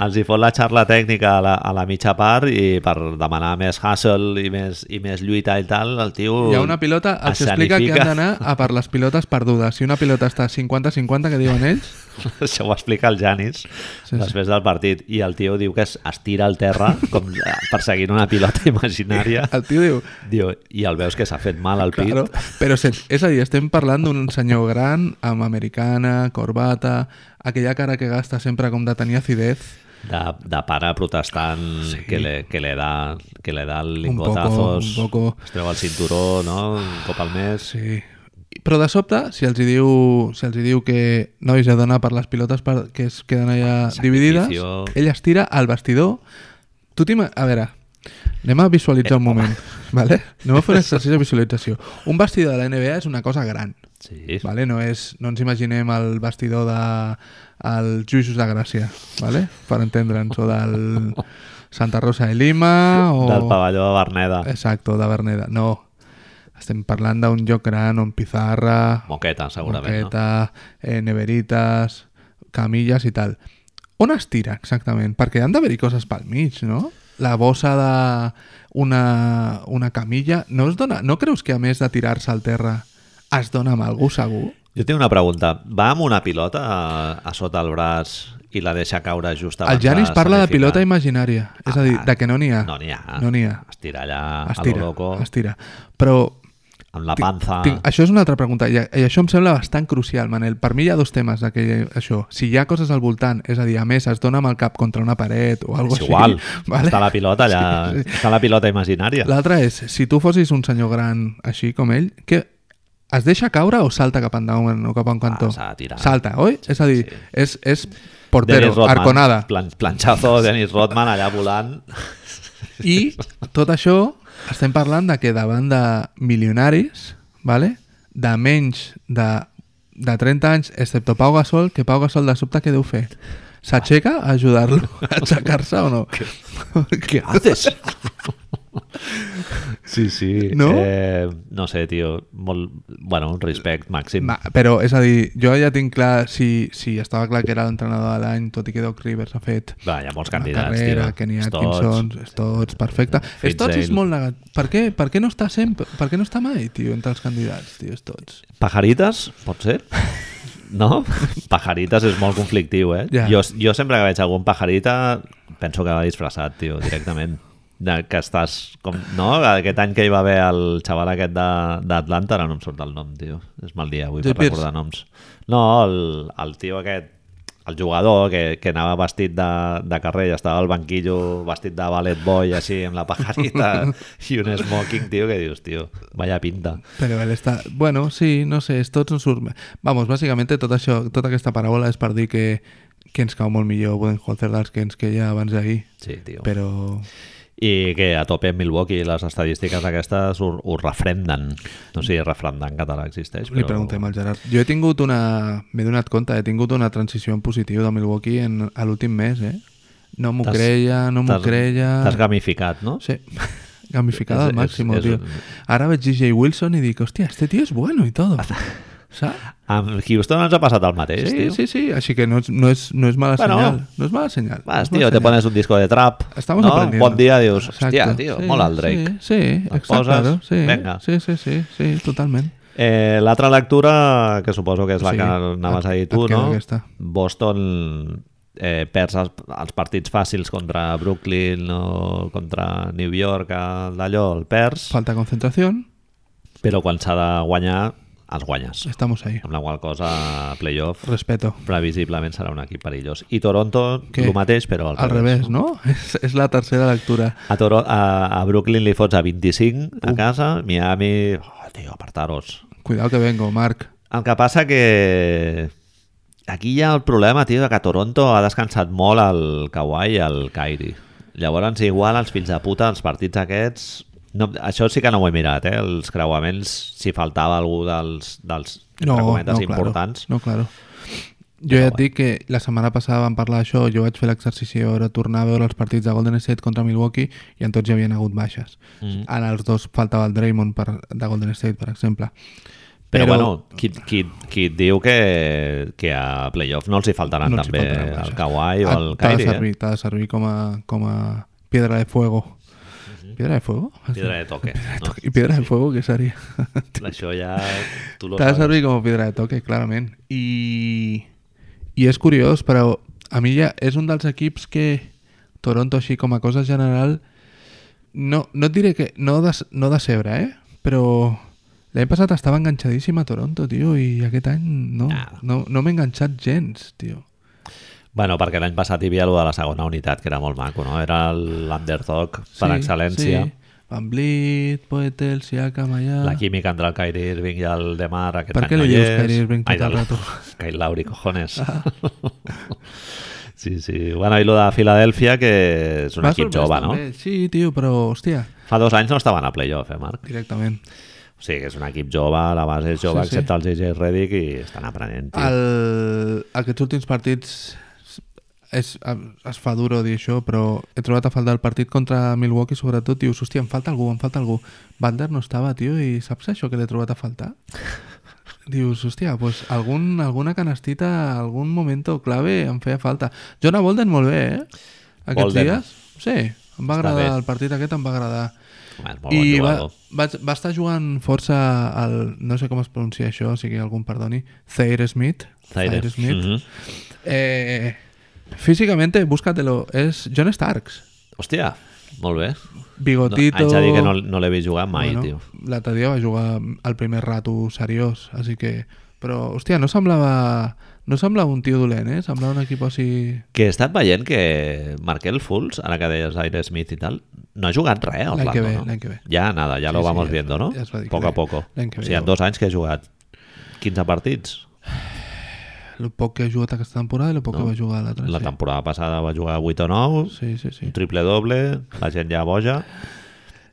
els hi fot la xarra tècnica a la, a la mitja part i per demanar més hustle i més, i més lluita i tal, el tio...
Hi ha una pilota, els explica que han d'anar a per les pilotes perdudes. Si una pilota està 50-50, que diuen ells,
Això ho explica el Janis
Sí, sí.
sí, després del partit i el tio diu que es, es tira al terra com eh, perseguint una pilota imaginària
el tio diu...
diu, i el veus que s'ha fet mal al pit
Claro, però sen, és a dir, estem parlant d'un senyor gran, amb americana, corbata, aquella cara que gasta sempre com de tenir acidez,
de, de pare protestant sí. que, le, que, le da, que le da
un poco,
lingotazos
un poco...
es treu el cinturó no? un cop al mes
Sí. Però de sobte, si els hi diu, si els hi diu que nois he d'anar per les pilotes per, que es queden allà
Sacrificio.
dividides, ell es tira al vestidor. Tu t'ima... A veure, anem a visualitzar
Eh,
un moment. Vale? Anem a fer un exercici de visualització. Un vestidor de la NBA és una cosa gran.
sí,
Vale? No, és, no ens imaginem el vestidor de els Juixos de Gràcia, vale? per entendre'ns, o del Santa Rosa de Lima, o... Eh,
del pavelló de Berneda.
Exacto, de Berneda. No. Estem parlant d'un lloc gran on pizarra,
Moqueta, segurament,
moqueta, eh, neveritas, camilles i tal. On es tira exactament? Perquè han d'haver-hi coses pel mig, no? La bossa d'una una camilla... No, es dona, no creus que a més de tirar-se al terra es dona amb algú segur?
no? Jo tinc una pregunta. Va amb una pilota a, a sota el braç i la deixa caure just abans
El Janis
de
parla de
sacrificar?
pilota imaginària. És a dir, de que no n'hi ha.
No n'hi ha.
No n'hi ha.
Es tira allà
Es
a
tira,
lo loco,
es tira. Però
amb la panza...
Tinc, això és una altra pregunta, i, i això em sembla bastant crucial, Manel. Per mi hi ha dos temes d'aquell això. Si hi ha coses al voltant, és a dir, a més, es dona amb el cap contra una paret o alguna
és igual.
Vale?
Està la pilota allà. Està la pilota imaginària.
L'altra és, si tu fossis un senyor gran així com ell, que es deixa caure o salta cap endavant o cap a un cantó?
Ah, s'ha de tirar.
salta, oi? Sí, és a dir,
sí.
és, és portero,
Dennis Rodman,
arconada.
Plan, planchazo, Dennis Rodman allà volant.
I tot això estem parlant de que davant de milionaris, vale? de menys de, de 30 anys, excepte Pau Gasol, que Pau Gasol de sobte què deu fer? S'aixeca a ajudar-lo a aixecar-se o no?
Què haces? Sí, sí.
No?
Eh, no sé, tio. Molt... Bueno, un respect màxim.
Ma, però, és a dir, jo ja tinc clar si, si estava clar que era l'entrenador de l'any, tot i que Doc Rivers ha fet
Va, hi ha molts
una
candidats,
carrera,
tio.
Kenny
Stotts.
Atkinson, Stotts, perfecte.
Fitzdale.
Stotts és molt negat. Per què, per què no està sempre, per què no està mai, tio, entre els candidats, tio, Stotts?
Pajaritas, pot ser? No? Pajaritas és molt conflictiu, eh?
Ja.
Jo, jo sempre que veig algun pajarita penso que va disfressat, tio, directament. De, que estàs... Com, no? Aquest any que hi va haver el xaval aquest de- d'Atlanta, ara no em surt el nom, tio. És mal dia avui
Joe
per
Pierce.
recordar noms. No, el, el tio aquest el jugador que, que anava vestit de, de carrer i estava al banquillo vestit de ballet boy així amb la pajarita i un smoking, tio, que dius, tio, vaya pinta.
Però ell està... Bueno, sí, no sé, Stotts no surt... mai. Vamos, bàsicament tot això, tota aquesta paraula és per dir que, que ens cau molt millor Budenholzer dels que ens queia abans d'ahir.
Sí, tio.
Però...
I que a tope amb Milwaukee les estadístiques aquestes ho, ho refrenden. No sé si refrendar en català existeix, però...
Li preguntem al Gerard. Jo he tingut una... M'he donat compte, he tingut una transició en positiu de Milwaukee en, a l'últim mes, eh? No m'ho
T'has-
creia, no m'ho
T'has-
creia...
T'has gamificat, no?
Sí, gamificada
És-
al máximo,
és- és-
tío. Ahora ves DJ Wilson y digo, hostia, este tío es bueno y todo. ¿Sabes?
Amb Houston ens ha passat el mateix,
Sí,
tio.
sí, sí, así que no es, no es, no es mala
Este, Bueno.
señal. No es mala señal. no
Vas,
es mala
tio, te
señal.
pones un disco de trap,
Estamos
no? Un
aprendiendo.
bon dia dius, hòstia,
Exacto,
tio,
sí,
mola el Drake.
Sí, sí,
Las
exacto,
cosas,
claro, sí,
venga.
sí, sí, sí, sí, totalmente.
Eh, L'altra lectura, que suposo que és la
Sí,
que anaves a dir
et-
tu,
et queda
no?
aquesta.
Boston eh, perds els, els partits fàcils contra Brooklyn o contra New York, el d'allò, el perds.
Falta concentración,
però quan s'ha de guanyar, els guanyes.
estamos ahí.
Amb la qual cosa, playoff,
Respeto.
previsiblement serà un equip perillós. I Toronto,
Què?
el mateix, però al,
Al revés, ¿no? Es, es la tercera lectura.
A, Toro, a, a Brooklyn li fots a 25 a casa, Miami... Oh, tio, apartaros.
Cuidado que vengo, Marc.
El que passa que... Aquí hi ha el problema, tio, de que Toronto ha descansat molt el Kawhi i el Kyrie. Llavors, igual, els fills de puta, els partits aquests... No, això sí que no ho he mirat, eh? Els creuaments, si faltava algú dels, dels entre cometes, importants.
Claro, no, claro. Jo
Però
ja et dic que la setmana passada vam parlar d'això, jo vaig fer l'exercici de veure, tornar a veure els partits de Golden State contra Milwaukee i en tots hi havien hagut baixes.
Mhm.
Mm. En els dos faltava el Draymond per, de Golden State, per exemple.
Però, però bueno, qui, qui, qui et diu que, que a playoff no els hi faltaran
no
no
els hi
també
faltaran
el
baixes.
Kawhi o
Ah,
el
T'ha de
Kyrie,
servir,
eh?
t'ha de servir com a, com a piedra de fuego. Piedra de fuego?
Mhm. Piedra de toque. No?
I piedra de fuego què seria?
Això ja... Tu lo
T'ha de
sabes.
servir com a pedra de toque, clarament. I, I és curiós, però a mi ja és un dels equips que Toronto, així com a cosa general, no, no et diré que... No, des, no decebre, eh? Però l'any passat estava enganxadíssim a Toronto, tio, i aquest any no,
Ah.
no, no m'he enganxat gens, tio.
Bueno, perquè l'any passat hi havia allò de la segona unitat, que era molt maco, no? Era l'underdog per excel·lència.
Sí. Van Blit, Poetel, Siakam, allà...
La química entre el Kyrie Irving i el Demar aquest
Per
any
què
no
li
hi
dius
és.
Kyrie Irving tot
Ai,
el
del-
rato? Ah.
Kyle Lowry, cojones. sí, sí. Bueno, i lo de Filadèlfia, que és un
M'ha
equip
sorprès
jove, no?
també. Sí, tio, però, hòstia,
Fa dos anys no estaven a playoff, eh, Marc?
directament.
O sigui, que és un equip jove, la base és jove,
Sí, sí.
excepte el JJ Redick, i estan aprenent, tio.
El, aquests últims partits és, es fa duro dir això, però he trobat a faltar el partit contra Milwaukee sobretot, dius, hòstia, em falta algú, em falta algú. Butler no estava, tio, i saps això que l'he trobat a faltar? Dius, hòstia, pues algun, alguna canastita, algun moment clave em feia falta. Jonah Bolden molt bé, eh? Aquests
Bolden.
dies. Sí, em
Està
va agradar,
bé.
el partit aquest em va agradar.
Home, és molt bon
I va,
jugador.
va, va estar jugant força al... No sé com es pronuncia això, o sigui, algú em perdoni. Thayer Smith.
Zaire.
Smith.
Mhm.
eh, físicamente, búscatelo. És John Starks.
Hòstia, molt bé. No, haig
Bigotito...
de dir que no, no l'he vist jugar mai, tio.
L'altre dia va jugar al primer rato seriós, així que... Però, hòstia, no semblava... No semblava un tio dolent, eh? Semblava un equip així...
Que he estat veient que Markel Fultz, ara que deies Aire Smith i tal, no ha jugat res a
L'any
Orlando,
que ve,
no?
l'any que ve.
Ja, nada, ja
Sí,
lo
sí,
vamos
ja es-
viendo, ¿no?
ja es va dir que
poco a
l'any-
poco.
l'any que
O
ve
sigui, en
ja ho-
dos anys que he jugat 15 partits.
El poc que ha jugat aquesta temporada i el poc
No.
que va jugar l'altra.
La
Ah, sí.
temporada passada va jugar 8 o 9,
Sí, sí, sí.
un triple-doble, la gent ja boja.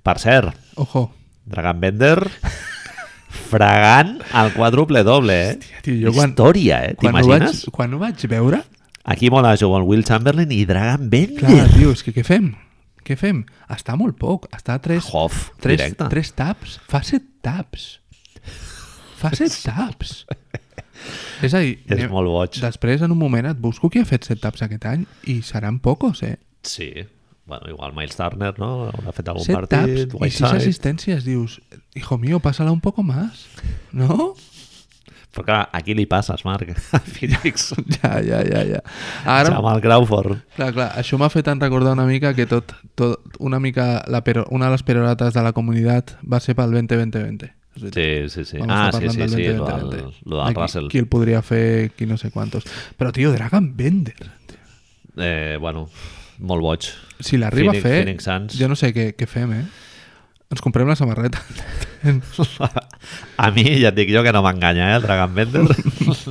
Per cert,
Ojo.
Dragan Bender fregant el quadruple-doble, eh?
Hòstia, tio, jo quan-
Història, eh?
Quan ho, vaig,
T'imagines?
quan ho vaig veure,
Aquí mola jugar amb Will Chamberlain i Dragan Bender.
Clar, tio, és que què fem? què fem? Està molt poc, està a 3,
Jof,
3,
directe.
3 taps. Fa 7 taps. Fa 7 taps. És a dir,
És
anem-
molt boig.
després en un moment et busco qui ha fet 7 taps aquest any i seran pocos, eh?
Sí. Bueno, igual Miles Turner, no? Haurà fet algun
7
partit,
taps i 6
Whiteside...
assistències, dius, hijo mío, pásala un poco más, no?
Però clar, aquí li passes, Marc, a Phoenix.
Ja, ja, ja, ja. Ara,
Ara... Amb el Crawford.
Clar, clar, això m'ha fet en recordar una mica que tot, tot una mica la pero, una de les perorates de la comunitat va ser pel 20-20-20. És a dir,
Sí, sí, sí.
vam
Ah,
estar
sí, sí,
parlant
sí,
del
lo
20-20-20.
del, lo del
De qui-
Russell.
Qui el podria fer, qui no sé quantos. Però, tio, Dragon Bender, tio.
Eh, bueno, molt boig.
si l'arriba a
Phoenix-
fer,
Phoenix Suns.
jo no sé què, què fem, eh? Ens comprem la samarreta.
A mi, ja et dic jo que no m'enganya, eh, el Dragon Bender.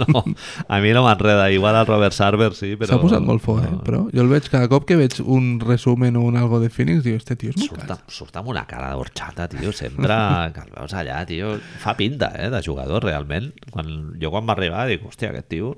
No, a mi no m'enreda. Igual el Robert Sarver sí, però...
S'ha posat molt fort, eh? Però jo el veig cada cop que veig un resumen o un algo de Phoenix, diu, este tio és molt
Surt,
cas.
amb- surt amb una cara d'orxata, tio, sempre que el veus allà, tio, fa pinta, eh, de jugador, realment. Quan, jo quan va arribar dic, hòstia, aquest tio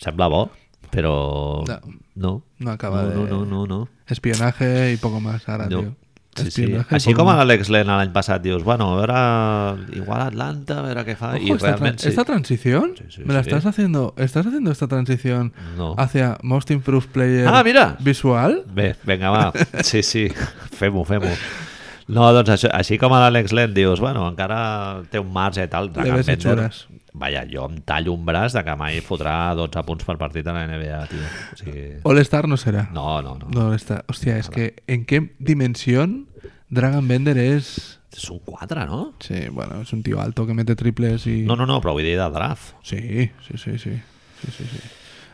sembla bo, però no,
No.
no,
No acaba
no,
de-
no, no, no.
Espionaje i poco más ara,
No.
tio.
Sí, sí.
Espionaje i
Així
poco
com a
más.
l'Alex Len l'any passat, dius, bueno, a veure, igual Atlanta, a veure què fa,
Ojo,
i
esta,
realment
tran-
Ah, sí.
esta transición
Sí, sí,
me la
sí.
estás haciendo estás haciendo esta transición
No.
hacia most improved player
Ah, mira!
visual
Bé, vinga, va. Sí, sí, fem-ho, fem-ho. No, doncs això, així com a l'Alex Len dius, bueno, encara té un marge i tal. Dragan
ves
Bender,
hechures.
Vaja, jo em tallo un braç de que mai fotrà 12 punts per partit a la NBA, tio. O sigui,
All Star no será
no, no, no.
no All Star hostia es que en qué dimensión Dragon Bender es
És un 4, no?
sí bueno es un tío alto que mete triples y
No, no, no, però vull dir de draft.
sí sí sí sí sí sí, sí.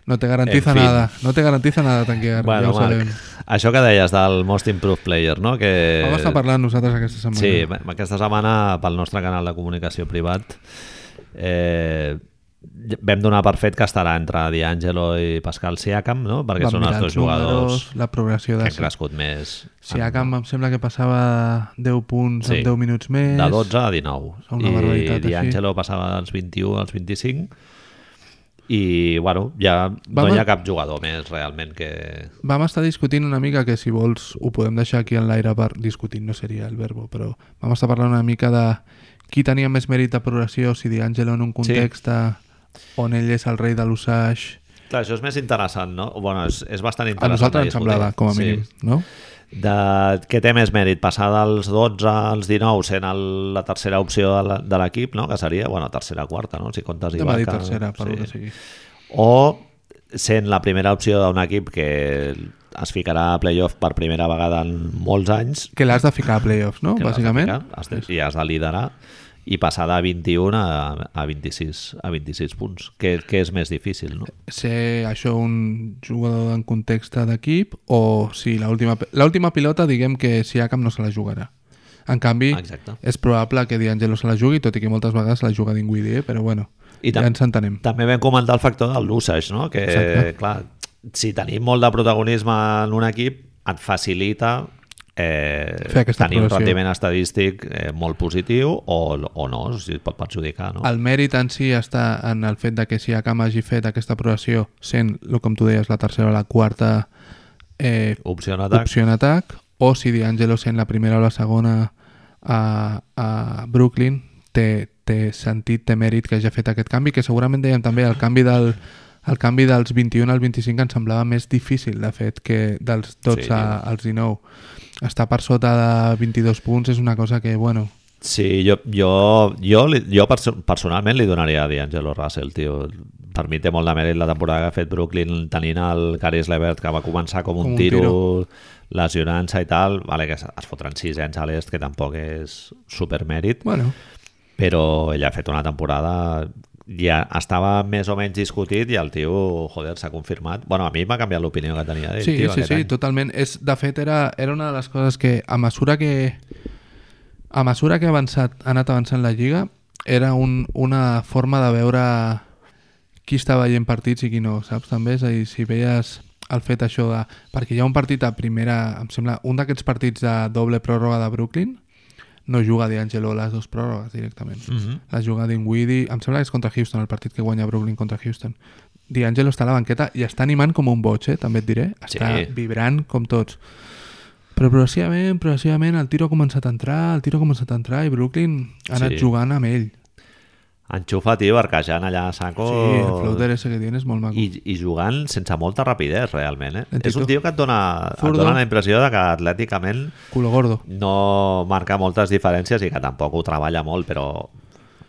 no te garantiza
En fin.
nada no te garantiza nada tanquear
Bueno,
ja ho sabem.
Marc, això que deies del Most Improved Player, no? Que...
vamos a parlar nosaltres aquesta setmana
eh, Sí, ma- aquesta setmana pel nostre canal de comunicació privat eh, vam donar per fet que estarà entre D'Angelo i Pascal Siakam, no? perquè
Vam
són els
mirar
dos
els números,
jugadors
la progressió
que
de
han crescut més
Si a Camp em sembla que passava 10 punts
Sí.
en 10 minuts més.
de 12 a 19.
Una barbaritat,
I D'Angelo passava dels 21 als 25 i bueno, ja no
Vam-
hi ha cap jugador més realment que...
Vam estar discutint una mica, que si vols ho podem deixar aquí en l'aire per discutir, no seria el verbo, però vam estar parlant una mica de qui tenia més mèrit de progressió, si D'Angelo en un context sí. on ell és el rei de l'usage.
Clar, això és més interessant, no? Bueno, és, és bastant
A
interessant. de
nosaltres ens
discutir.
semblava, com a mínim, sí. no?
de què té més mèrit, passar dels 12 als 19 sent el, la tercera opció de la- de l'equip, no? que seria, bueno, tercera quarta, no? si comptes
Anem a dir
Ibaka,
tercera, per sí. que sigui.
O sent la primera opció d'un equip que es ficarà a playoff per primera vegada en molts anys,
Que l'has de ficar a playoffs, no?
que l'has de
Bàsicament.
ficar, has de, i has de liderar i passar de 21 a, a 26 a 26 punts, que, que és més difícil, no?
ser això un jugador en context d'equip o si l'última l'última pilota diguem que Siakam no se la jugarà. En canvi,
Exacte.
és probable que D'Angelo se la jugui, tot i que moltes vegades se la juga Dinguidi, eh? però bueno,
I
I
tam-
ja ens entenem.
També vam comentar el factor de l'usage, no? que
Exacte.
clar, si tenim molt de protagonisme en un equip, et facilita eh,
Fer aquesta
tenir un
progressió.
rendiment estadístic eh, molt positiu o, o no, o sigui, et pot perjudicar. No?
El mèrit en si està en el fet de que Siakam hagi fet aquesta progressió sent, lo com tu deies, la tercera o la quarta eh,
Opció en atac.
opció en atac, o si D'Angelo sent la primera o la segona a, a Brooklyn, té, té sentit, té mèrit que hagi fet aquest canvi, que segurament dèiem també el canvi del el canvi dels 21 al 25 ens semblava més difícil, de fet, que dels 12
Sí,
sí, als 19. Estar per sota de 22 punts és una cosa que, bueno,
Sí, jo, jo, jo, li- jo perso personalment li donaria a D'Angelo Russell, tio. Per mi té molt de mèrit la temporada que ha fet Brooklyn tenint el Caris Levert, que va començar com, un,
un
tiro,
tiro.
lesionant-se i tal. Vale, que es- es fotran sisens a l'est, que tampoc és supermèrit,
bueno,
però ell ha fet una temporada ja estava més o menys discutit i el tio, joder, s'ha confirmat. Bueno, a mi m'ha canviat l'opinió que tenia d'ell,
Sí,
tio,
sí,
aquest
sí,
any.
totalment. És, de fet, era, era una de les coses que a mesura que a mesura que ha avançat, ha anat avançant la Lliga, era un, una forma de veure qui està veient partits i qui no, saps? També, és a dir, si veies el fet això de... Perquè hi ha un partit a primera, em sembla, un d'aquests partits de doble pròrroga de Brooklyn, no juga D'Angelo les dues pròrrogues directament. Mm
Mhm.
-hmm. La juga Dinwiddie, em sembla que és contra Houston, el partit que guanya Brooklyn contra Houston. D'Angelo està a la banqueta i està animant com un boig, eh? també et diré. Està
Sí.
vibrant com tots. Però progressivament, progressivament, el tiro ha començat a entrar, el tiro ha començat a entrar i Brooklyn ha anat
Sí.
jugant amb ell.
Enxufa, tio, barquejant allà a saco...
Sí, el floater ese que tiene és molt maco.
Oh. I, I jugant sense molta rapidesa, realment. Eh?
Lentito.
És un tio que et dona, et
Zurdo.
dona la impressió de que atlèticament
Culo gordo.
no marca moltes diferències i que tampoc ho treballa molt, però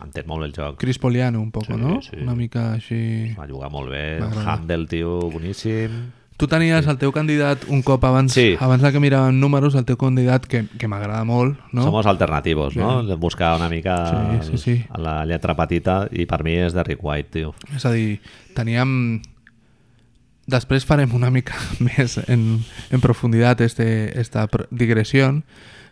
entén molt el joc.
Chris Poliano, un poco,
Sí,
no?
sí.
Una mica així...
Va jugar molt bé, el
M'agrada.
handle, tio, boníssim.
Tu tenies el teu candidat un cop abans,
Sí.
abans de que miràvem números, el teu candidat, que, que m'agrada molt, no?
Somos alternativos, no? Buscar una mica
Sí, sí, sí.
el- la lletra petita i per mi és Derrick White, tio.
És a dir, teníem... Després farem una mica més en, en profunditat este, esta pro- digressió,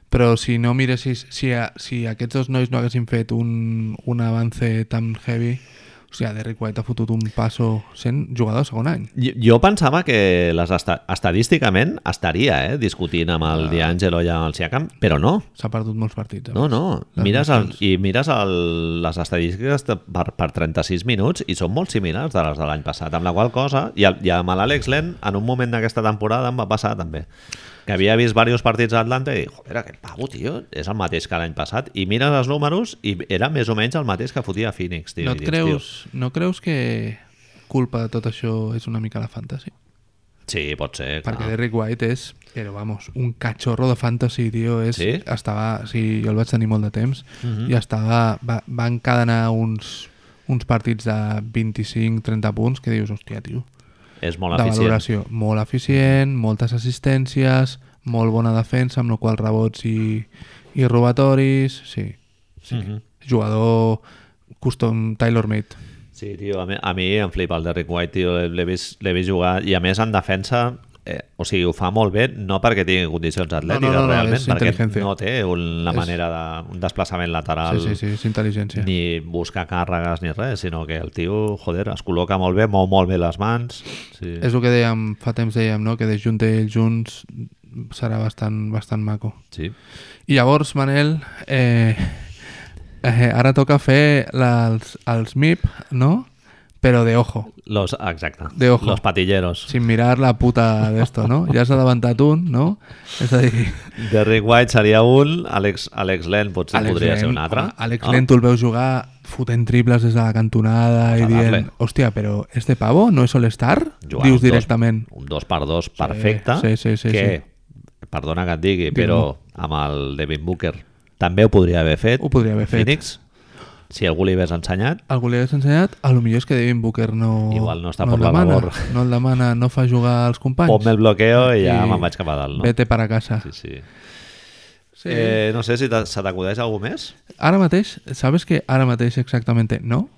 però si no miressis... Si, a, si aquests dos nois no haguessin fet un, un avance tan heavy... O sigui, Derrick White ha fotut un passo sent jugador de segon any.
Jo, jo pensava que les esta estadísticament estaria eh, discutint amb
Ah.
el D'Angelo i amb el Siakam, però no.
S'ha perdut molts partits. eh?
No, no.
Les
Mires el, I mires el, les estadístiques de- per, per 36 minuts i són molt similars de les de l'any passat, amb la qual cosa, i, el, i amb l'Àlex Len, en un moment d'aquesta temporada em va passar també, que havia vist diversos partits a Atlanta i dic, joder, aquest pavo, tio, és el mateix que l'any passat, i mires els números i era més o menys el mateix que fotia Phoenix, tio.
no,
I
et
dius,
creus, no creus que culpa de tot això és una mica la fantasy?
Tio, sí, pot ser, clar.
Perquè Derrick White és, però vamos, un cachorro de fantasy, tio. És,
Sí? Mhm.
Estava, sí, jo el vaig tenir molt de temps i estava, va, va encadenar uns, uns partits de 25-30 punts que dius, hòstia, tio,
És molt
de
eficient.
valoració. Molt eficient, moltes assistències, molt bona defensa, amb la qual cosa rebots i, i robatoris, sí. sí.
Mhm.
Jugador custom tailor-made.
Sí, tio, a mi, a mi em flipa el Derrick White, tio, l'he vist, l'he vist jugar i a més en defensa, eh, o sigui, ho fa molt bé, no perquè tingui condicions atlètiques
no, no,
realment,
és
perquè
intel·ligència.
no té una
És-
manera de, un desplaçament lateral
Sí, sí, sí, és intel·ligència.
ni buscar càrregues ni res, sinó que el tio, joder, es col·loca molt bé, mou molt bé les mans. Sí.
És el que dèiem, fa temps dèiem, no? que de junt ells junts serà bastant, bastant maco.
sí.
I llavors, Manel, eh, eh, ara toca fer la- els, els MIP, no? Però de ojo,
Los, exacte,
De ojo.
los patilleros.
sin mirar la puta d'esto, no? Ja s'ha davantat un, no? És a dir,
Derrick White seria un, Alex, Alex Len potser podria ser un altre.
home, Alex Len, tu el veus jugar fotent triples des de la cantonada i
Vamos a darle.
dient, hòstia, però este pavo no és All-Star?
Joan,
Dius
un dos-
directament.
Un 2 per 2 perfecte.
sí, sí, sí,
que, perdona que et digui, però amb el Devin Booker també ho podria haver fet.
Ho podria haver fet.
Phoenix, si algú li hagués ensenyat,
algú li hagués ensenyat, a lo millor és que Devin Booker no...
Igual no està
el
por la
demana,
labor.
No el demana, no fa jugar als companys.
ponme el bloqueo i ja
Sí.
me'n vaig cap a dalt. No?
Vete para casa.
Sí, sí.
Sí.
Eh, no sé si te- se t'acudeix algú més.
Ara mateix, sabes que ara mateix exactament no?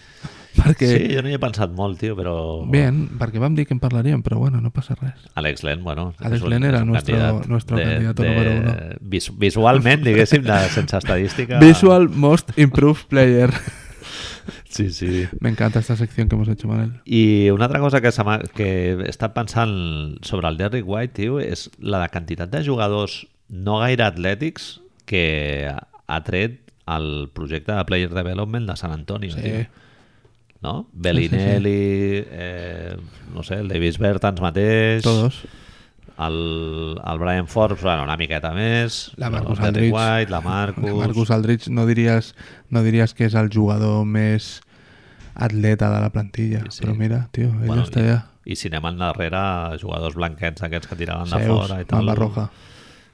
perquè...
Sí, jo no hi he pensat molt, tio, però...
Bien, perquè vam dir que en parlaríem, però bueno, no passa res.
Alex Len, bueno... és
Alex
un-
Len era
és un
nuestro- nuestro candidato número uno.
vis- Visualment, diguéssim, de, sense estadística...
Visual Most Improved Player.
Sí, sí.
Me encanta esta sección que hemos hecho, Manel.
I una altra cosa que, se m'ha- que he estat pensant sobre el Derrick White, tio, és la de quantitat de jugadors no gaire atlètics que ha tret el projecte de Player Development de San Antonio,
Sí.
tio. No? Bellinelli, eh, no sé, el Davis Bertans mateix,
Todos.
el, el Brian Forbes, bueno, una miqueta més,
La
el
Marcus
Derrick
Aldridge.
White, la Marcus...
Marcus Aldrich, no diries, no diries que és el jugador més atleta de la plantilla,
Sí, sí.
però mira, tio, ell
Bueno,
està allà.
i, I si anem al darrere, jugadors blanquets aquests que tiraven de
Seus,
fora i tal.
Mamba Roja.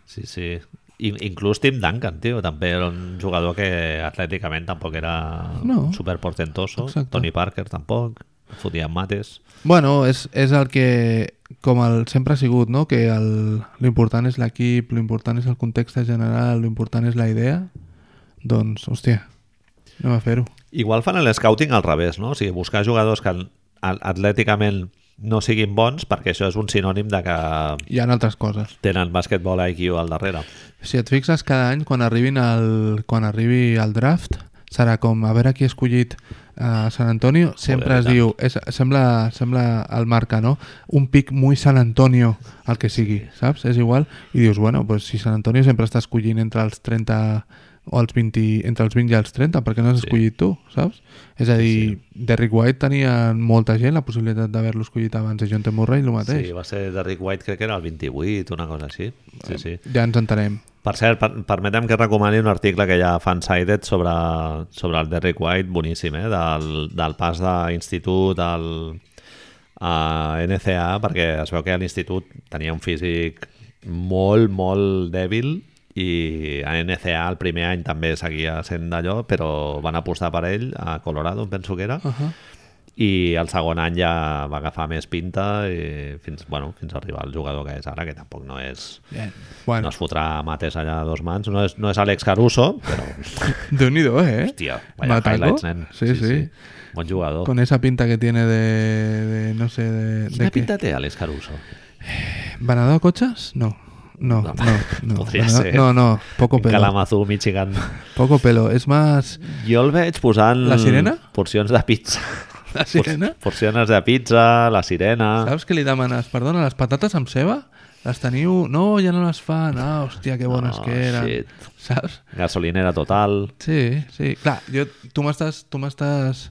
Sí, sí. I, inclús Tim Duncan, tio, també era un jugador que atlèticament tampoc era
No.
superportentoso.
Exacte.
Tony Parker tampoc, fotia mates.
Bueno, és, és el que, com el, sempre ha sigut, no? que el- l'important és l'equip, l'important és el context general, l'important és la idea, doncs, hòstia, anem a fer-ho.
Igual fan el scouting al revés, no? O sigui, buscar jugadors que al- atlèticament no siguin bons perquè això és un sinònim de que
Hi ha altres coses.
tenen basquetbol IQ al darrere.
Si et fixes, cada any, quan, arribin al, quan arribi al draft, serà com a veure qui ha escollit a San Antonio, sempre
Joder,
es
i tant.
diu, és, sembla, sembla el marca, no? Un pic muy San Antonio, el que sigui, saps? És igual. I dius, bueno, pues si San Antonio sempre està escollint entre els 30 o als 20, entre els 20 i els 30, perquè no has
Sí.
escollit tu, saps? És a dir, Derrick White tenia molta gent la possibilitat d'haver-lo escollit abans de John T. Murray, el mateix.
Sí, va ser Derrick White, crec que era el 28, una cosa així. Sí, sí.
Ja ens entenem.
Per cert, per, permetem que recomani un article que hi ha a Fansided sobre, sobre el Derrick White, boníssim, eh? del, del pas d'institut al, a NCA, perquè es veu que a l'institut tenia un físic molt, molt dèbil i a NCA el primer any també seguia sent d'allò, però van apostar per ell a Colorado, em penso que era,
Uh -huh.
i el segon any ja va agafar més pinta i fins, bueno, fins a arribar al jugador que és ara, que tampoc no és...
Bien. Bueno,
No es fotrà mates allà a dos mans. No és, no és Àlex Caruso, però...
déu nhi eh?
Hòstia, vaya
Mataco.
highlights, nen.
Sí, sí.
Bon jugador.
Con esa pinta que tiene de, de no sé, de,
Quina
de qué.
pinta té Àlex Caruso?
¿Vanador cochas? No. No, no,
No,
no.
podría
Vanador-
ser.
No, no, poco
En
pelo.
Kalamazoo, Michigan.
Poco pelo. Es más,
Jo el veig posant...
La sirena?
Porcions de pizza.
La sirena?
Por- Porcions de pizza, la sirena...
saps que li demanes? Perdona, les patates amb ceba? Les teniu? No, ja no les fan. Ah, hòstia, que bones
Oh,
que eren.
shit.
Saps?
Gasolinera total.
Sí, sí. Clar, jo, tu m'estàs tu m'estàs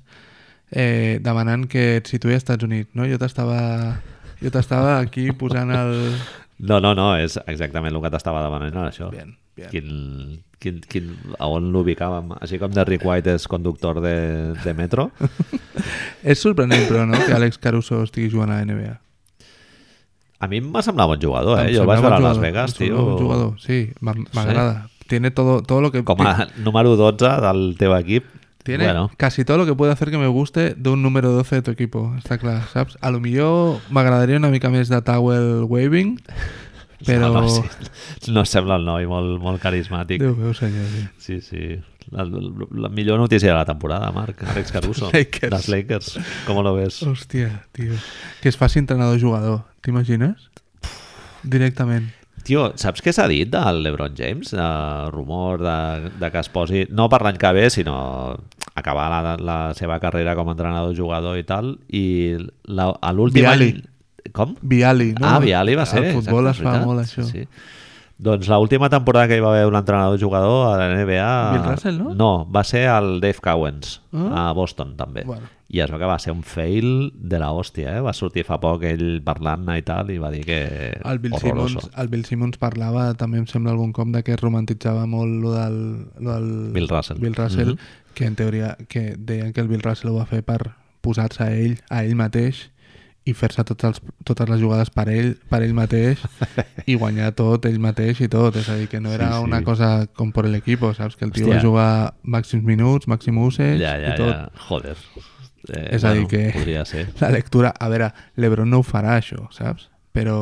eh, demanant que et situï als Estats Units, no? Jo t'estava jo t'estava aquí posant el...
No, no, no, és exactament el que t'estava demanant, ara, això.
Bien, bien.
Quin, quin, quin, a on l'ubicàvem? Així com Derrick White és conductor de, de metro,
És sorprenent, però, no?, que Àlex Caruso estigui jugant a la NBA.
a mi em va semblar bon jugador, eh?
Em
Jo el vaig
sembla
veure a
buen
Las
jugador,
Vegas,
em sembla
tio.
buen jugador, sí, m'ha- m'agrada. Tiene todo, todo lo que...
Com a número 12 del teu equip.
Tiene
Bueno,
casi todo lo que puede hacer que me guste de un número 12 de tu equipo, está claro, saps? A lo millor m'agradaria una mica més de Towel Waving, però...
no, no, sí, no sembla el noi molt, molt carismàtic.
Déu meu senyor, sí.
Sí, sí. La, la, la millor notícia de la temporada, Marc. Alex Caruso.
Lakers.
Dels Lakers. Com lo ves?
Hòstia, tio. Que es faci entrenador-jugador, t'imagines? Directament.
Tio, saps què s'ha dit del LeBron James? El rumor de, de que es posi, no per l'any que ve, sinó acabar la, la seva carrera com a entrenador-jugador i tal, i la- a l'últim
Viali.
any... Com?
Viali, no?
ah, Viali va ser.
Al futbol
exacte,
es fa
veritat.
molt això.
Sí, sí. Doncs l'última temporada que hi va haver un entrenador-jugador a la NBA...
Bill Russell, no?
No, va ser el Dave Cowens,
Ah.
a Boston, també.
Bueno.
I es veu que va ser un fail de la hòstia, eh? Va sortir fa poc ell parlant-ne i tal, i va dir que...
El Bill,
horroroso.
Simmons, el Bill Simmons parlava, també em sembla algun cop, de que romantitzava molt lo del, lo del
Bill Russell. Mhm.
Bill Russell, que en teoria que deien que el Bill Russell ho va fer per posar-se a ell, a ell mateix, i fer-se tots els- totes les jugades per ell, per ell mateix, i guanyar tot ell mateix i tot. És a dir, que no era
Sí, sí.
una cosa com per l'equip, saps? Que el tio va
Hòstia.
jugar màxims minuts, màxim usage
Ja, ja,
eh? i tot.
ja. Joder. Eh,
És a dir que-
Podria ser.
La lectura... A veure, l'Ebron no ho farà, això, saps? Però...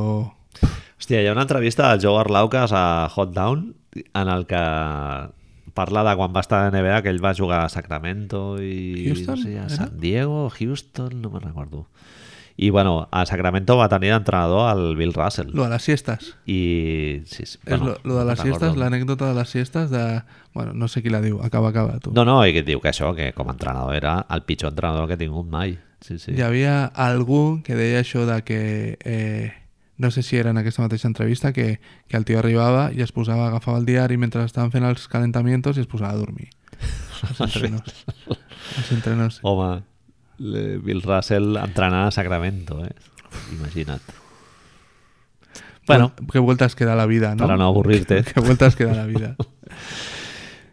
Hòstia, hi ha una entrevista del Joe Arlaucas a Hot Down en el que parla de quan va estar a NBA, que ell va jugar a Sacramento i
Houston,
no sé, a
era?
San Diego, Houston, no me'n recordo. I bueno, a Sacramento va tenir d'entrenador el Bill Russell.
Lo de les siestes.
I sí, sí,
És
bueno,
lo, lo de
no
les
recordo.
siestes, l'anècdota de les siestes de... Bueno, no sé qui la diu, acaba, acaba, tu.
No, no, i que et diu que això, que com a entrenador era el pitjor entrenador que he tingut mai. Sí, sí.
Hi havia algú que deia això de que... Eh, no sé si era en aquesta mateixa entrevista, que, que el tio arribava i es posava, agafava el diari mentre estaven fent els calentamientos i es posava a dormir. Els entrenos. Els entrenos.
Home, le- Bill Russell entrenant a Sacramento, eh? Imagina't. Bueno,
Que vueltas que da la vida, Ah, no?
Para no avorrir-te.
Que vueltas que da la vida.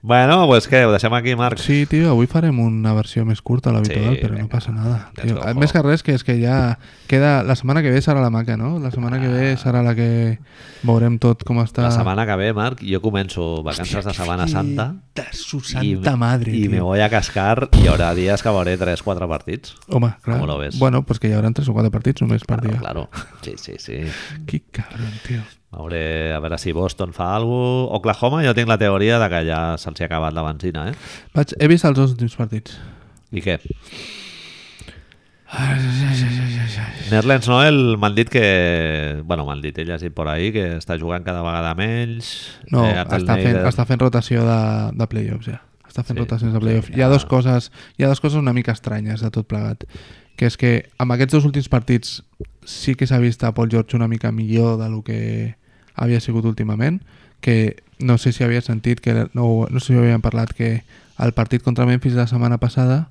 bueno, pues què, ho deixem aquí, Marc?
Sí, tio, avui farem una versió més curta a l'habitual,
Sí,
però no
vinga,
passa nada.
let's
Tio.
go,
Més que res, que és que ja queda... La setmana que ve serà la maca, no? La setmana que ve serà la que veurem tot com està...
Ah. La setmana que ve, Marc, jo començo vacances de Setmana Santa
De su
i,
santa madre,
i me
tio.
voy a cascar i hi haurà dies que veuré 3-4 partits.
Home, clar.
Com lo ves?
Bueno, pues que hi haurà tres o quatre partits només per
Claro,
dia.
claro. Sí, sí, sí.
Que cabrón, tio.
Veuré, a veure si Boston fa alguna cosa. Oklahoma, jo tinc la teoria de que ja se'ls hi ha acabat la benzina, eh?
Vaig, he vist els dos últims partits.
I què? Nerlens Noel m'han dit que... Bueno, m'han dit, he llegit por ahí, que està jugant cada vegada menys.
No,
Eh, Abdel
està, fent,
Nader-
està fent rotació de, de playoffs ja. Està fent
Sí,
sí, rotacions de
sí,
playoffs. Hi, ha
ja.
dos coses, hi ha dues coses una mica estranyes de tot plegat. Que és que amb aquests dos últims partits sí que s'ha vist a Paul George una mica millor de lo que havia sigut últimament, que no sé si havia sentit que, no, no sé si havíem parlat que el partit contra Memphis la setmana passada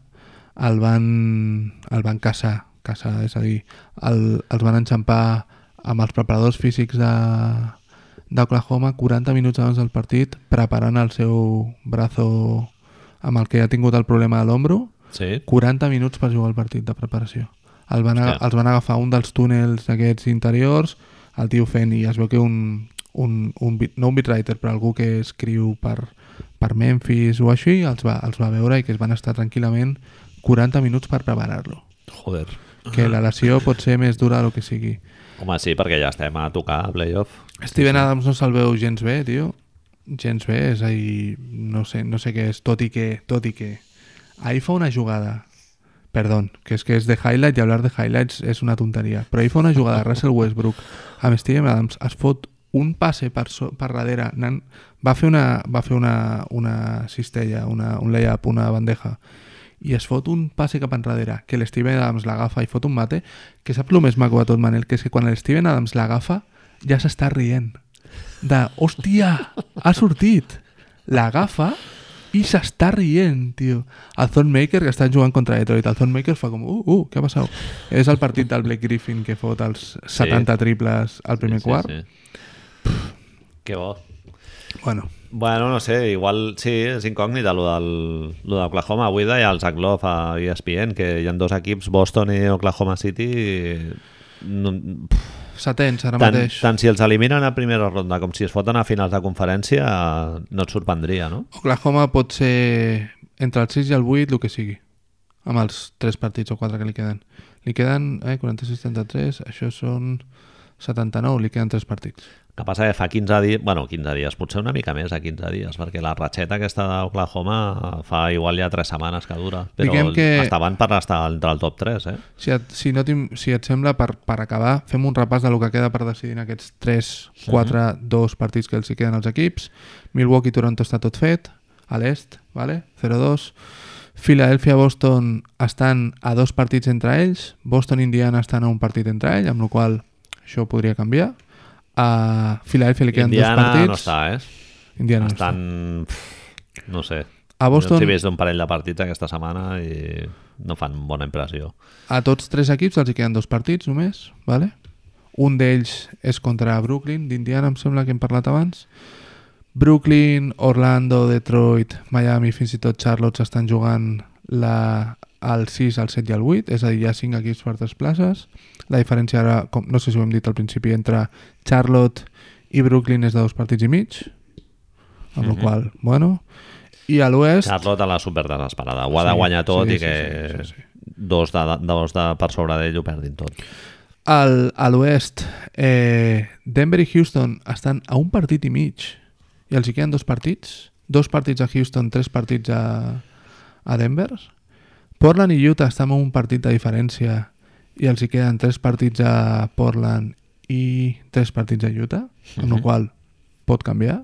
el van, el van caçar, caçar és a dir, el, els van enxampar amb els preparadors físics de d'Oklahoma 40 minuts abans del partit preparant el seu brazo amb el que ha tingut el problema de l'ombro
Sí?
40 minuts per jugar al partit de preparació. El van, aga-
Hòstia.
els van agafar un dels túnels aquests interiors, el tio fent, i es veu que un, un, un beat- no un beatwriter, però algú que escriu per, per Memphis o així, els va, els va veure i que es van estar tranquil·lament 40 minuts per preparar-lo.
Joder.
Que la lesió pot ser més dura del que sigui.
Home, sí, perquè ja estem a tocar a playoff.
Steven Adams no se'l veu gens bé, tio. Gens bé, és a dir, no sé, no sé què és, tot i que, tot i que. Ahir fa una jugada, perdó, que és que és de highlight i hablar de highlights és una tonteria, però ahir fa una jugada Russell Westbrook amb Steven Adams, es fot un passe per, so, per darrere, anant, va fer una, va fer una, una cistella, una, un layup, una bandeja, i es fot un passe cap enrere, que l'Steven Adams l'agafa i fot un mate, que saps el més maco de tot, Manel, que és que quan l'Steven Adams l'agafa ja s'està rient. De, hòstia, ha sortit! L'agafa i s'està rient, tio. El Thornmaker, que estan jugant contra Detroit, el Thornmaker fa com, uh, uh, què ha passat? És el partit del Blake Griffin que fot els 70 triples al primer
sí,
quart.
Sí, sí. Que bo.
Bueno,
Bueno, no sé, igual sí, és incògnita lo del- lo d'Oklahoma. Avui deia el Zach Love a E ESPN que hi ha dos equips, Boston i Oklahoma City, i no, pff,
setents ara
tant,
mateix.
tant si els eliminen a primera ronda com si es foten a finals de conferència no et sorprendria, no?
Oklahoma pot ser entre el 6 i el 8, el que sigui. Amb els 3 partits o 4 que li queden. Li queden eh, 46-73, això són 79, li queden 3 partits.
El que passa que fa 15 dies, bueno, 15 dies, potser una mica més a 15 dies, perquè la ratxeta aquesta d'Oklahoma fa igual ja 3 setmanes que dura, però
Diguem que-
estaven per estar entre el top 3, eh?
Si et, si, no t'im- si et sembla, per, per acabar, fem un repàs de lo que queda per decidir en aquests 3, 4, 2 partits que els hi queden als equips. Milwaukee-Toronto està tot fet, a l'est, vale? 0-2. Philadelphia-Boston estan a dos partits entre ells, Boston-Indiana estan a un partit entre ells, amb la qual cosa això podria canviar. A Philadelphia li queden dos
Indiana
partits.
no està, eh?
Indiana no
Estan... pff, No sé.
està. A
Boston...
Boston...
Jo els he vist un parell de partits aquesta setmana i no fan bona impressió.
A tots tres equips els hi queden dos partits només, vale? un d'ells és contra Brooklyn, d'Indiana em sembla que hem parlat abans. Brooklyn, Orlando, Detroit, Miami, fins i tot Charlotte s'estan jugant la, el 6, el 7 i el 8, és a dir, hi ha 5 equips per tres places. La diferència ara, com, no sé si ho hem dit al principi, entre Charlotte i Brooklyn és de dos partits i mig, amb mm -hmm. la qual cosa, bueno... I a l'oest...
Charlotte a la super desesperada. Ho ha de
Sí,
guanyar tot
sí,
i que
sí, sí, sí,
dos, de, dos de per sobre d'ell ho perdin tot.
Al, a l'oest, eh, Denver i Houston estan a un partit i mig. I els hi queden dos partits. Dos partits a Houston, tres partits a, a Denver. Portland i Utah estan a un partit de diferència i els hi queden tres partits a Portland i tres partits a Utah, amb la qual pot canviar.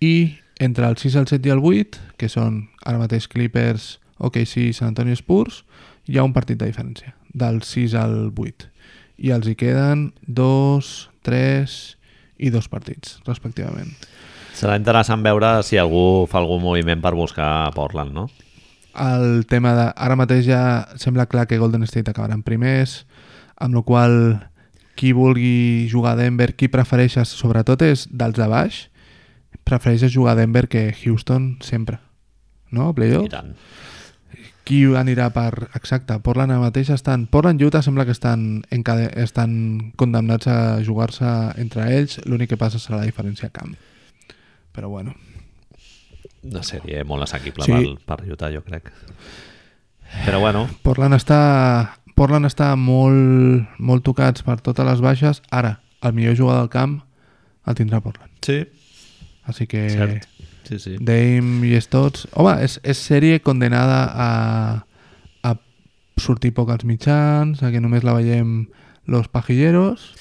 I entre el 6, el 7 i el 8, que són ara mateix Clippers, OKC i San Antonio Spurs, hi ha un partit de diferència, del 6 al 8. I els hi queden dos, tres i dos partits, respectivament.
Serà interessant veure si algú fa algun moviment per buscar a Portland, no?
el tema de... Ara mateix ja sembla clar que Golden State acabaran primers, amb la qual cosa, qui vulgui jugar a Denver, qui prefereixes, sobretot és dels de baix, prefereixes jugar a Denver que Houston sempre, no? A
I
Playoff.
tant.
Qui anirà per... Exacte, Portland ara mateix estan... Portland i Utah sembla que estan, encade... estan condemnats a jugar-se entre ells, l'únic que passa serà la diferència a camp. Però bueno.
Una sèrie molt assequible
Sí.
sí. per, per Utah, jo crec. Però bueno,
Portland està, Portland està molt, molt tocats per totes les baixes. Ara, el millor jugador del camp el tindrà Portland.
sí,
Així que
cert. Eh, Sí, sí.
Dame i Stotts... Home, és, és sèrie condenada a, a sortir poc als mitjans, a que només la veiem los pajilleros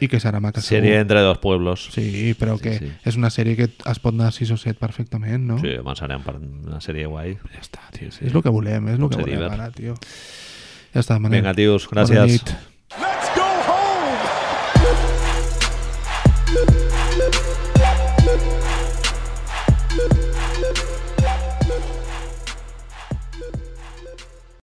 i que serà maca
Sèrie entre dos pueblos.
segur. Sí, però que
sí.
és una sèrie que es pot anar 6 o 7 perfectament, no?
Sí, home, serà una sèrie guai. Ja està, tio,
És el que volem, és el que
Potser
volem
Diver.
ara, tio. Ja està, Manel.
Vinga, tios,
Bona
gràcies.
nit.